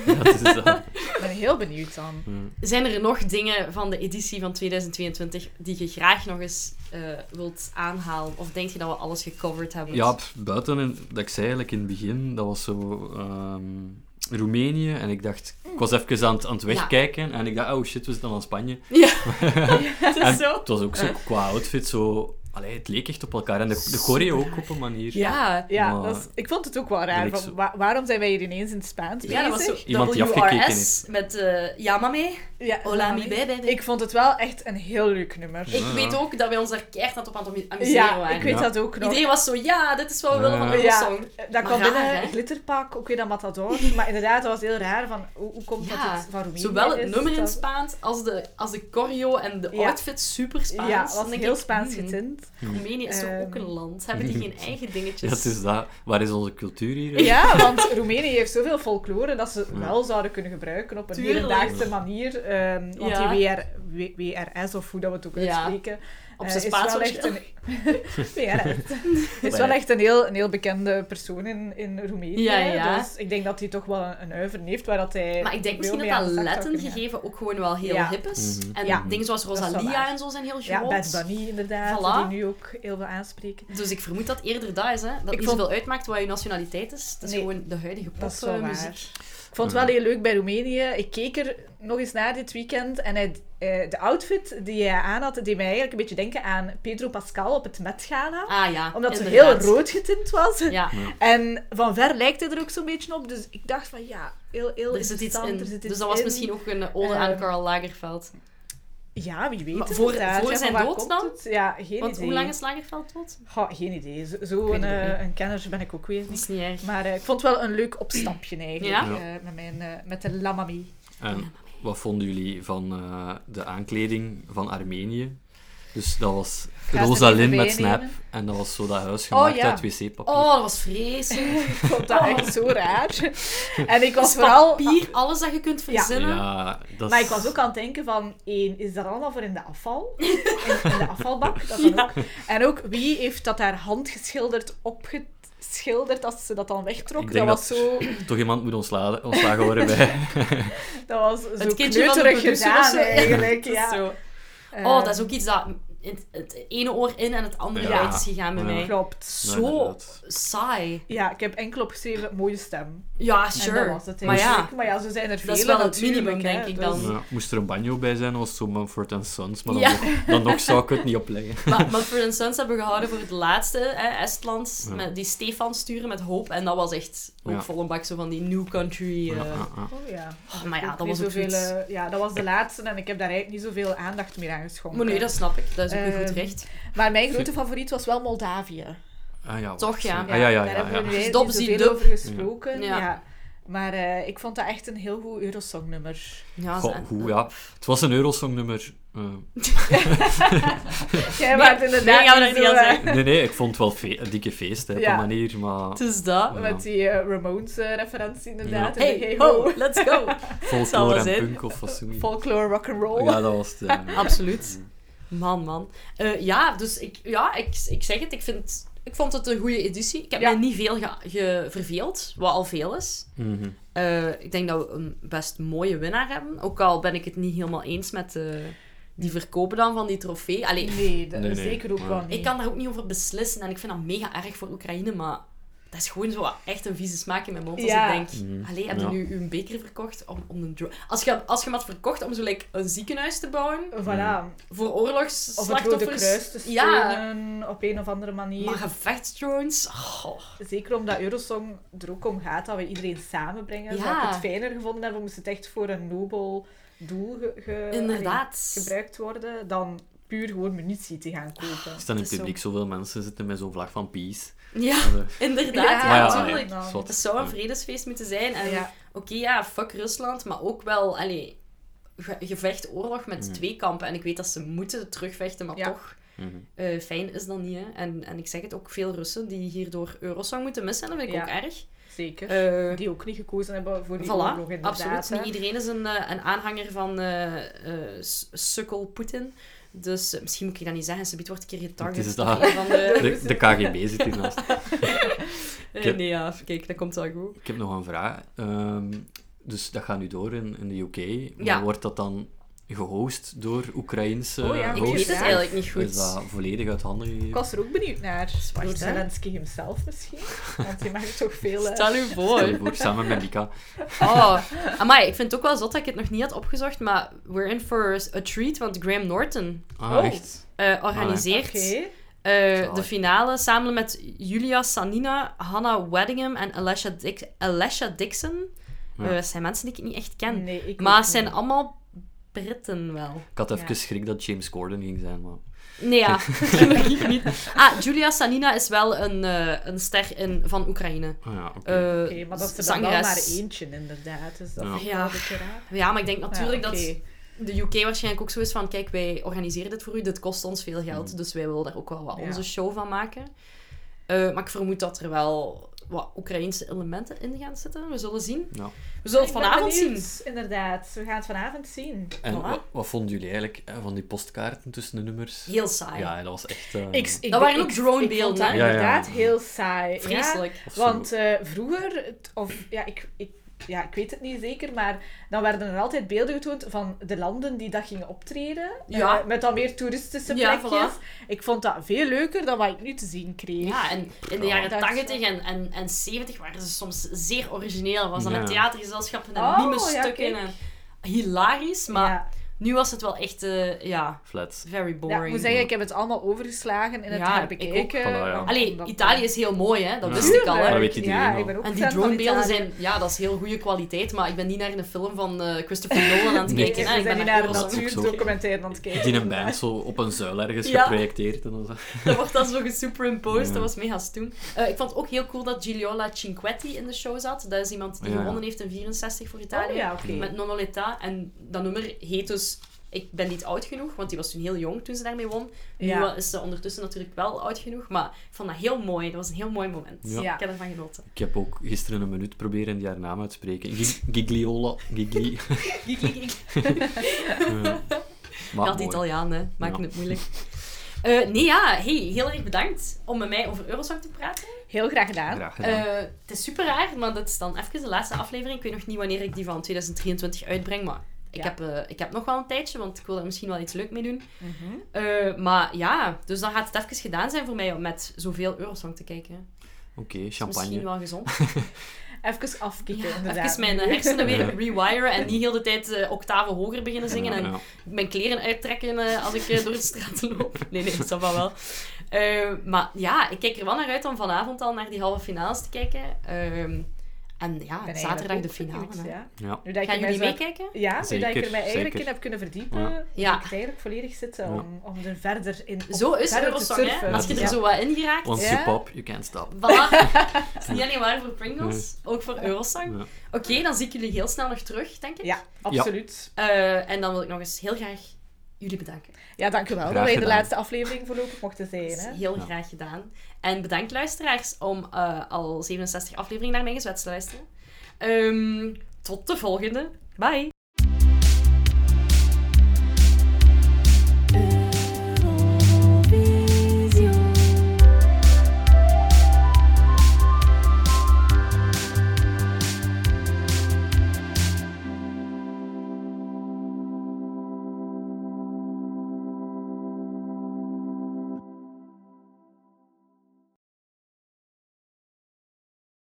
S1: Ja, het is dat.
S3: Ik ben heel benieuwd dan.
S2: Zijn er nog dingen van de editie van 2022 die je graag nog eens eh, wilt aanhalen? Of denk je dat we alles gecoverd hebben?
S1: Ja, pff, buiten, in- dat ik zei eigenlijk in het begin, dat was zo ehm, Roemenië. En ik dacht, ik was even aan het, aan het wegkijken. En ik dacht, oh shit, we zitten al aan Spanje.
S2: Ja,
S3: Dat
S1: en
S3: is zo.
S1: het was ook zo qua outfit zo... Allee, het leek echt op elkaar. En de, de choreo ook op een manier.
S2: ja.
S3: Ja,
S1: Maar-
S3: dat is- ik vond het ook wel raar.
S1: ik
S3: van,
S1: zo-
S3: wa- waarom zijn wij hier ineens in het Spaans
S2: Ja, dat was zo
S3: bezig?
S1: Iemand die
S2: WRS
S1: afgekeken is.
S2: met eh Yamame.
S3: Ja,
S2: Hola, mi
S3: sorry.
S2: bebe. Ik,
S3: Ik vond het wel echt een heel leuk nummer.
S1: Ja.
S2: weet ook dat wij ons daar keihard aan het op aan het amuseren
S3: ja,
S2: waren.
S3: ik weet
S1: Ja.
S3: dat ook nog.
S2: Iedereen was zo, ja, dit is wat we
S1: Ah.
S2: willen van de
S3: Ja.
S2: song.
S3: Dat kwam
S2: raar,
S3: binnen,
S2: hè?
S3: glitterpak, ook weer dat matador. Maar inderdaad, dat was heel raar van hoe, hoe komt dat
S2: Ja,
S3: het van Roemenië
S2: Zowel het
S3: is,
S2: nummer in
S3: dat-
S2: Spaans als de, als de choreo en de
S3: Ja.
S2: outfit super Spaans.
S3: Ja,
S2: Dan
S3: was
S2: denk
S3: heel
S2: ik,
S3: Spaans
S2: hmm,
S3: getint.
S2: Roemenië is toch
S3: Ehm.
S2: ook een land? Hebben die geen eigen dingetjes?
S1: Ja, het is dat. Waar is onze cultuur hier?
S3: Ja, want Roemenië heeft zoveel folklore dat ze wel zouden kunnen gebruiken op een
S2: Tuurlijk.
S3: hedendaagse manier. ehm, want
S2: Ja.
S3: die WR, W- WRS, of hoe dat we het ook
S2: Ja.
S3: uitspreken,
S2: Op
S3: eh,
S2: zijn
S3: is
S2: Spaans
S3: wel
S2: wordt
S3: echt een... WRS. is wel echt een heel, een heel bekende persoon in, in Roemenië.
S2: Ja, ja.
S3: Dus ik denk dat hij toch wel een, een uiver heeft waar dat hij...
S2: Maar ik denk
S3: Eh, veel
S2: misschien dat
S3: mee aan
S2: dat
S3: de slag zou
S2: Latin
S3: kunnen gaan.
S2: gegeven ook gewoon wel heel
S3: Ja.
S2: hip is.
S1: Mhm.
S2: En
S3: Ja.
S2: dingen zoals
S3: is wel
S2: Rosalia
S3: waar.
S2: en zo zijn heel
S3: Ja, Bad
S2: groot.
S3: Bunny inderdaad,
S2: Voilà.
S3: die nu ook heel veel aanspreken.
S2: dus ik vermoed dat eerder dat is, hè. Dat
S3: Ik
S2: niet
S3: vond-
S2: zoveel uitmaakt wat je nationaliteit is. Het is
S3: Nee,
S2: gewoon de huidige
S3: dat is wel waar.
S2: popmuziek.
S3: eh, Ik vond het wel heel leuk bij Roemenië. Ik keek er nog eens naar dit weekend en hij, eh, de outfit die hij aan had, deed mij eigenlijk een beetje denken aan Pedro Pascal op het Met Gala.
S2: Ah ja,
S3: omdat ze heel
S2: inderdaad.
S3: rood getint was.
S2: Ja.
S3: En van ver lijkt hij er ook zo'n beetje op. Dus ik dacht van ja, heel, heel
S2: Er zit iets
S3: interessant,
S2: in.
S3: er zit
S2: dus
S3: iets
S2: dat was
S3: in.
S2: misschien ook een ode aan
S3: Ehm,
S2: Karl Lagerfeld.
S3: Ja, wie weet.
S2: Maar voor-
S3: inderdaad,
S2: voor
S3: ja,
S2: zijn
S3: van waar
S2: dood
S3: komt
S2: dan?
S3: het? Ja, geen
S2: Want
S3: idee.
S2: hoe lang is Lagerfeld dood?
S3: Goh, geen idee. Zo-
S2: Ik weet
S3: Zo'n
S2: het ook
S3: eh,
S2: niet.
S3: een kenner ben ik ook weer
S2: Dat
S3: niet.
S2: is niet erg.
S3: Maar eh, ik vond het wel een leuk opstapje eigenlijk.
S1: Ja?
S3: eh, met, mijn, eh, met de lamami.
S1: En wat vonden jullie van eh, de aankleding van Armenië? Dus dat was
S3: er
S1: Rosalind
S3: even bij
S1: met Snap.
S3: nemen?
S1: En dat was zo dat huis gemaakt
S3: ja.
S1: uit wc-papier.
S2: Oh, dat was vreselijk.
S3: Ik vond dat echt zo raar. En ik was
S2: Dus
S3: vooral...
S2: papier, alles dat je kunt verzinnen.
S1: Ja, dat
S3: Maar
S1: is-
S3: ik was ook aan het denken van, één, is dat allemaal voor in de afval? In, in de afvalbak, dat dan ook. En ook, wie heeft dat haar handgeschilderd opgeschilderd als ze dat dan wegtrok?
S1: Ik
S3: Dat
S1: denk
S3: was,
S1: dat-
S3: zo,
S1: Toch iemand moet ontslagen, ontslagen worden bij...
S3: dat was zo
S2: Het kindje van de
S3: kneuterig
S2: producer of
S3: gedaan,
S2: zo.
S3: eigenlijk.
S2: Dat is
S3: Ja.
S2: zo.
S3: Eh,
S2: Oh, dat is ook iets dat het, het ene oor in en het andere
S1: Ja.
S2: uit is gegaan bij
S1: Ja.
S2: mij.
S3: Klopt.
S2: Zo
S1: inderdaad.
S2: saai.
S3: Ja, ik heb enkel opgeschreven, mooie stem.
S2: Ja,
S3: En
S2: sure.
S3: dat was het
S2: maar ja,
S3: eigenlijk. maar ja, zo zijn er
S2: Dat
S3: vele
S2: is wel het
S3: natuurlijk,
S2: minimum,
S3: hè,
S2: denk ik
S3: dus-
S2: dan.
S1: Ja, moest er een banjo bij zijn, was het zo Mumford Sons. Maar dan,
S2: Ja.
S1: nog, dan nog zou ik het niet opleggen.
S2: maar Mumford Sons hebben we gehouden voor het laatste, hè, Estland.
S1: Ja.
S2: Met die Stefan sturen met hoop. En dat was echt ook
S1: Ja.
S2: vol een bak zo van die new country. eh.
S1: Ja, ja, ja.
S3: Oh ja.
S2: Oh, maar ja,
S3: Ook
S2: dat
S3: niet
S2: was ook
S3: zoveel,
S2: iets.
S3: eh, Ja, dat was de laatste en ik heb daar eigenlijk niet zoveel aandacht meer aan geschonken.
S2: Maar nee, dat snap ik. Dat is ook een
S3: Eh,
S2: goed recht.
S3: Maar mijn grote favoriet was wel Moldavië.
S1: Ah, ja,
S2: Toch, ja.
S1: Ah, ja, ja,
S3: daar
S1: ja,
S3: hebben we
S1: ja.
S3: nu eigenlijk
S2: Dop
S3: niet
S2: zie
S3: zoveel
S2: dop.
S3: over gesproken.
S2: Ja.
S3: Ja. Maar eh, ik vond dat echt een heel goed Eurosong-nummer.
S2: Ja,
S1: Goh,
S2: ze-
S1: hoe, ja. Het was een Eurosong-nummer. eh,
S3: Jij waart
S2: nee,
S3: inderdaad
S2: gaan we
S3: niet
S2: dat
S3: zo,
S2: niet aan
S3: eh,
S1: nee, nee, ik vond het wel fe- een dikke feest, hè, op
S3: Ja.
S1: een manier, maar...
S2: Het is dat.
S1: Ja.
S3: eh, met die Ramones-referentie inderdaad.
S1: Ja.
S3: en de
S2: Hey,
S3: hey-ho.
S2: ho, let's go. zal
S1: Folklore
S2: wel
S1: en
S2: zijn.
S1: punk of wat zo.
S3: Folklore rock'n'roll.
S1: Ja, dat was het. ja.
S2: Absoluut.
S1: Mm.
S2: Man, man. Eh, ja, dus ik, ja, ik, ik zeg het. Ik, vind, ik vond het een goede editie. Ik heb
S3: Ja.
S2: mij niet veel ge- ge- verveeld, wat al veel is.
S1: Mhm.
S2: Eh, ik denk dat we een best mooie winnaar hebben. Ook al ben ik het niet helemaal eens met eh, die verkopen dan van die trofee. Allee,
S3: Nee, dat
S1: Nee, nee.
S3: zeker ook
S1: Ja.
S3: wel niet.
S2: ik kan daar ook niet over beslissen. En ik vind dat mega erg voor Oekraïne, maar... Dat is gewoon zo wat echt een vieze smaak in mijn mond.
S3: Ja.
S2: Als ik denk,
S1: Mhm.
S2: allee, heb je
S1: Ja.
S2: nu een beker verkocht om, om een dro- Als je, als je hem had verkocht om zo like, een ziekenhuis te bouwen,
S3: Voilà.
S2: voor
S3: Of het Rode
S2: oorlogsslachtoffers.
S3: Kruis te
S2: Ja,
S3: steunen op een of andere manier.
S2: maar gevechtsdrones. Oh.
S3: Zeker omdat Eurosong er ook om gaat dat we iedereen samenbrengen.
S2: Ja.
S3: Zou ik het fijner gevonden hebben, moest het echt voor een nobel doel ge- ge-
S2: Inderdaad.
S3: allee, gebruikt worden, dan puur gewoon munitie te gaan kopen.
S1: Er staan in
S2: Het
S1: het
S2: is
S1: publiek zoveel mensen zitten met zo'n vlag van peace.
S2: Ja,
S1: Maar, eh,
S2: inderdaad. Ja,
S1: maar ja,
S2: natuurlijk.
S1: ja,
S3: dan.
S1: zwart.
S2: Het zou een vredesfeest moeten zijn. En
S3: Ja.
S2: oké, ja, fuck Rusland, maar ook wel, allee, ge- gevecht, oorlog met twee kampen. En ik weet dat ze moeten terugvechten, maar
S3: Ja.
S2: toch. eh, fijn is dat niet. Hè? En, en ik zeg het ook, veel Russen die hierdoor Eurosong moeten missen, dat vind ik
S3: Ja.
S2: ook erg.
S3: Zeker.
S2: Eh,
S3: die ook niet gekozen hebben voor die oorlog,
S2: Voilà,
S3: inderdaad.
S2: absoluut.
S3: hè.
S2: Niet iedereen is een, eh, een aanhanger van eh, eh, s- sukkel Poetin. Dus eh, misschien moet ik dat niet zeggen, ze biedt wordt een keer getarget.
S1: Het is
S2: door
S1: dat.
S2: een Van de...
S1: De, de KGB zit hiernaast.
S2: Eh,
S1: heb-
S2: nee, ja, kijk, dat komt wel goed.
S1: Ik heb nog een vraag. Ehm, dus dat gaat nu door in, in de UK. Maar
S2: Ja.
S1: wordt dat dan gehost door Oekraïnse
S3: Oh ja, ik
S2: Ik
S1: hosts?
S2: weet het
S3: ja.
S2: eigenlijk niet
S1: Of Is
S2: goed.
S1: dat volledig uit handen
S3: Ik
S1: gegeven?
S3: was er ook benieuwd naar.
S2: Wacht,
S3: Door
S2: hè.
S3: Zelensky himself misschien. Want die maakt toch veel... eh,
S2: Stel
S1: Stel
S2: u
S1: je
S2: voor.
S1: voor, samen met Mika.
S2: Oh, amai, ik vind het ook wel zot dat ik het nog niet had opgezocht, maar we're in for a treat, want Graham Norton
S1: Ah,
S3: Oh.
S1: echt?
S2: eh, organiseert
S3: Oké.
S2: eh, de
S1: Zalig.
S2: finale samen met Julia Sanina, Hannah Waddingham en Alessia, Dick- Alessia Dixon.
S1: Ja.
S2: Eh, dat zijn mensen die ik niet echt ken.
S3: Nee, ik
S2: Maar
S3: ook
S2: het zijn
S3: niet.
S2: allemaal Britten wel.
S1: Ik had even
S3: Ja.
S1: schrik dat James Corden ging zijn, maar...
S2: Nee, ja, gelukkig niet. Ah, Julia Sanina is wel een, eh, een ster in, van Oekraïne.
S1: Ah, ja, oké.
S2: Eh,
S3: Oké, maar dat is er dan wel
S2: zangeres.
S3: maar eentje, inderdaad. Dus dat
S1: Ja.
S3: is
S2: Ja.
S3: wel een beetje raar.
S2: Ja, maar ik denk natuurlijk
S3: Ja, oké.
S2: dat de UK waarschijnlijk ook zo is van... Kijk, wij organiseren dit voor u, dit kost ons veel geld. Dus wij willen daar ook wel wat
S3: Mm. Ja.
S2: onze show van maken. Eh, maar ik vermoed dat er wel wat Oekraïnse elementen in gaan zitten. We zullen zien.
S1: Ja.
S2: We zullen het
S3: Ik ben
S2: vanavond zien.
S3: benieuwd, Inderdaad, we gaan het vanavond zien.
S1: En
S2: Voilà.
S1: wat, wat vonden jullie eigenlijk eh, van die postkaarten tussen de nummers?
S2: Heel saai.
S1: Ja, dat was echt... eh,
S2: Dat waren ook dronebeelden,
S3: Ik vond dat
S2: hè?
S1: Ja, ja.
S3: inderdaad heel saai. ja.
S2: Vreselijk.
S1: of zo.
S3: Want eh, vroeger, het- of ja ik, ik, ja, ik weet het niet zeker, maar dan werden er altijd beelden getoond van de landen die dat gingen optreden.
S2: Ja.
S3: Eh, met dan meer toeristische
S2: Ja,
S3: plekjes. Ik vond dat veel leuker dan wat ik nu te zien kreeg.
S2: Ja, en in de
S1: Ja.
S2: jaren
S3: Dat is
S2: 80 en, en, en 70 waren ze soms zeer origineel. Was dan
S1: Ja.
S2: een theatergezelschap en
S3: Oh,
S2: nieuwe
S3: ja,
S2: stukken.
S3: kijk.
S2: en hilarisch, maar
S3: Ja.
S2: nu was het wel echt, eh, ja,
S1: Flats.
S2: very
S3: Ja, ik
S2: boring.
S3: moet zeggen, ik heb het allemaal overgeslagen in het
S2: Ja, ik
S3: herbekeken.
S1: ook. Voilà, ja.
S3: want-
S2: Allee,
S3: omdat-
S2: Italië is heel mooi, hè? dat
S1: Ja.
S2: wist ik al.
S3: Tuurlijk,
S1: Dat
S2: Hè?
S1: weet iedereen
S3: ja,
S1: al.
S3: ik ben ook
S2: En die
S3: fan van
S2: dronebeelden
S3: Italië.
S2: zijn, ja, dat is heel goede kwaliteit, maar ik ben niet naar een film van eh, Christopher Nolan aan het
S1: Nee.
S2: kijken. hè.
S3: we
S2: Ik ben
S3: zijn nu naar een
S1: Eurosong.
S2: Eurosong.
S3: natuurdocumentaire aan het kijken.
S1: Die een band zo op een zuil ergens
S2: Ja.
S1: geprojecteerd. En dan zo.
S2: Dat wordt dan zo gesuperimposed,
S1: Ja.
S2: dat was mega stoem. Eh, ik vond het ook heel cool dat Giliola Cinquetti in de show zat. Dat is iemand die
S1: Ja.
S2: gewonnen heeft in 64 voor Italië.
S3: Oh ja, oké.
S2: Met Nonoleta. En dat nummer heet dus Ik ben niet oud genoeg, want die was toen heel jong toen ze daarmee won.
S3: Ja.
S2: Nu wel- is ze ondertussen natuurlijk wel oud genoeg, maar ik vond dat heel mooi. Dat was een heel mooi moment.
S1: Ja.
S3: Ja.
S2: Ik heb ervan genoten.
S1: Ik heb ook gisteren een minuut proberen die haar naam uit te spreken. Gig- Gigliola. Gigli. Ja. Maar
S2: Ja, die
S1: mooi.
S2: Italianen maken
S1: Ja.
S2: het moeilijk. Eh, nee, ja, hey, heel erg bedankt om met mij over Eurosong te praten.
S3: Heel graag gedaan.
S1: Graag gedaan.
S2: Eh, het is super raar, maar dat is dan even de laatste aflevering. Ik weet nog niet wanneer ik die van 2023 uitbreng, maar ik,
S3: Ja.
S2: heb, eh, ik heb nog wel een tijdje, want ik wil er misschien wel iets leuk mee doen.
S3: Mhm.
S2: Eh, maar ja, dus dan gaat het even gedaan zijn voor mij om met zoveel Eurosong te kijken.
S1: Oké,
S2: Dat is dus misschien
S1: champagne.
S2: wel gezond.
S3: Even afkicken, inderdaad.
S2: Even mijn eh, hersenen weer
S1: Ja.
S2: rewiren en niet heel de tijd eh, octaven hoger beginnen zingen en
S1: Ja, ja.
S2: mijn kleren uittrekken eh, als ik eh, door de straat loop. Nee, nee, dat va wel. Eh, maar ja, ik kijk er wel naar uit om vanavond al naar die halve finales te kijken. Ehm, en ja,
S3: Ik ben
S2: zaterdag
S3: eigenlijk
S2: de
S3: ook
S2: finale.
S3: benieuwd,
S2: hè.
S3: ja.
S1: Ja.
S3: Nu dat ik
S2: Gaan
S3: er
S2: jullie
S3: mij zo-
S2: meekijken?
S3: Ja, nu dat ik
S1: Zeker,
S3: er mij eigenlijk
S1: zeker.
S3: in heb kunnen verdiepen,
S1: Ja.
S3: vind
S2: Ja.
S3: ik het eigenlijk volledig zitten
S1: Ja.
S3: om, om er verder in op-
S2: Zo is
S3: verder te
S2: Eurosong, hè.
S3: surfen.
S2: Als je er
S1: Ja.
S2: zo wat in geraakt...
S1: Once
S3: Ja.
S1: you pop, you can't stop.
S2: Voilà. Het is niet alleen waar voor Pringles, ook voor Eurosong.
S1: Ja.
S2: Oké, dan zie ik jullie heel snel nog terug, denk ik.
S3: Ja, absoluut.
S2: Eh, en dan wil ik nog eens heel graag jullie bedanken.
S3: Ja, dankjewel dat
S1: Graag
S3: wij de
S1: gedaan.
S3: laatste aflevering voorlopig mochten zijn.
S2: Dat
S3: Hè.
S2: is heel
S1: Ja.
S2: graag gedaan. En bedankt luisteraars om eh, al 67 afleveringen naar mijn gezwets te luisteren. Ehm, tot de volgende. Bye!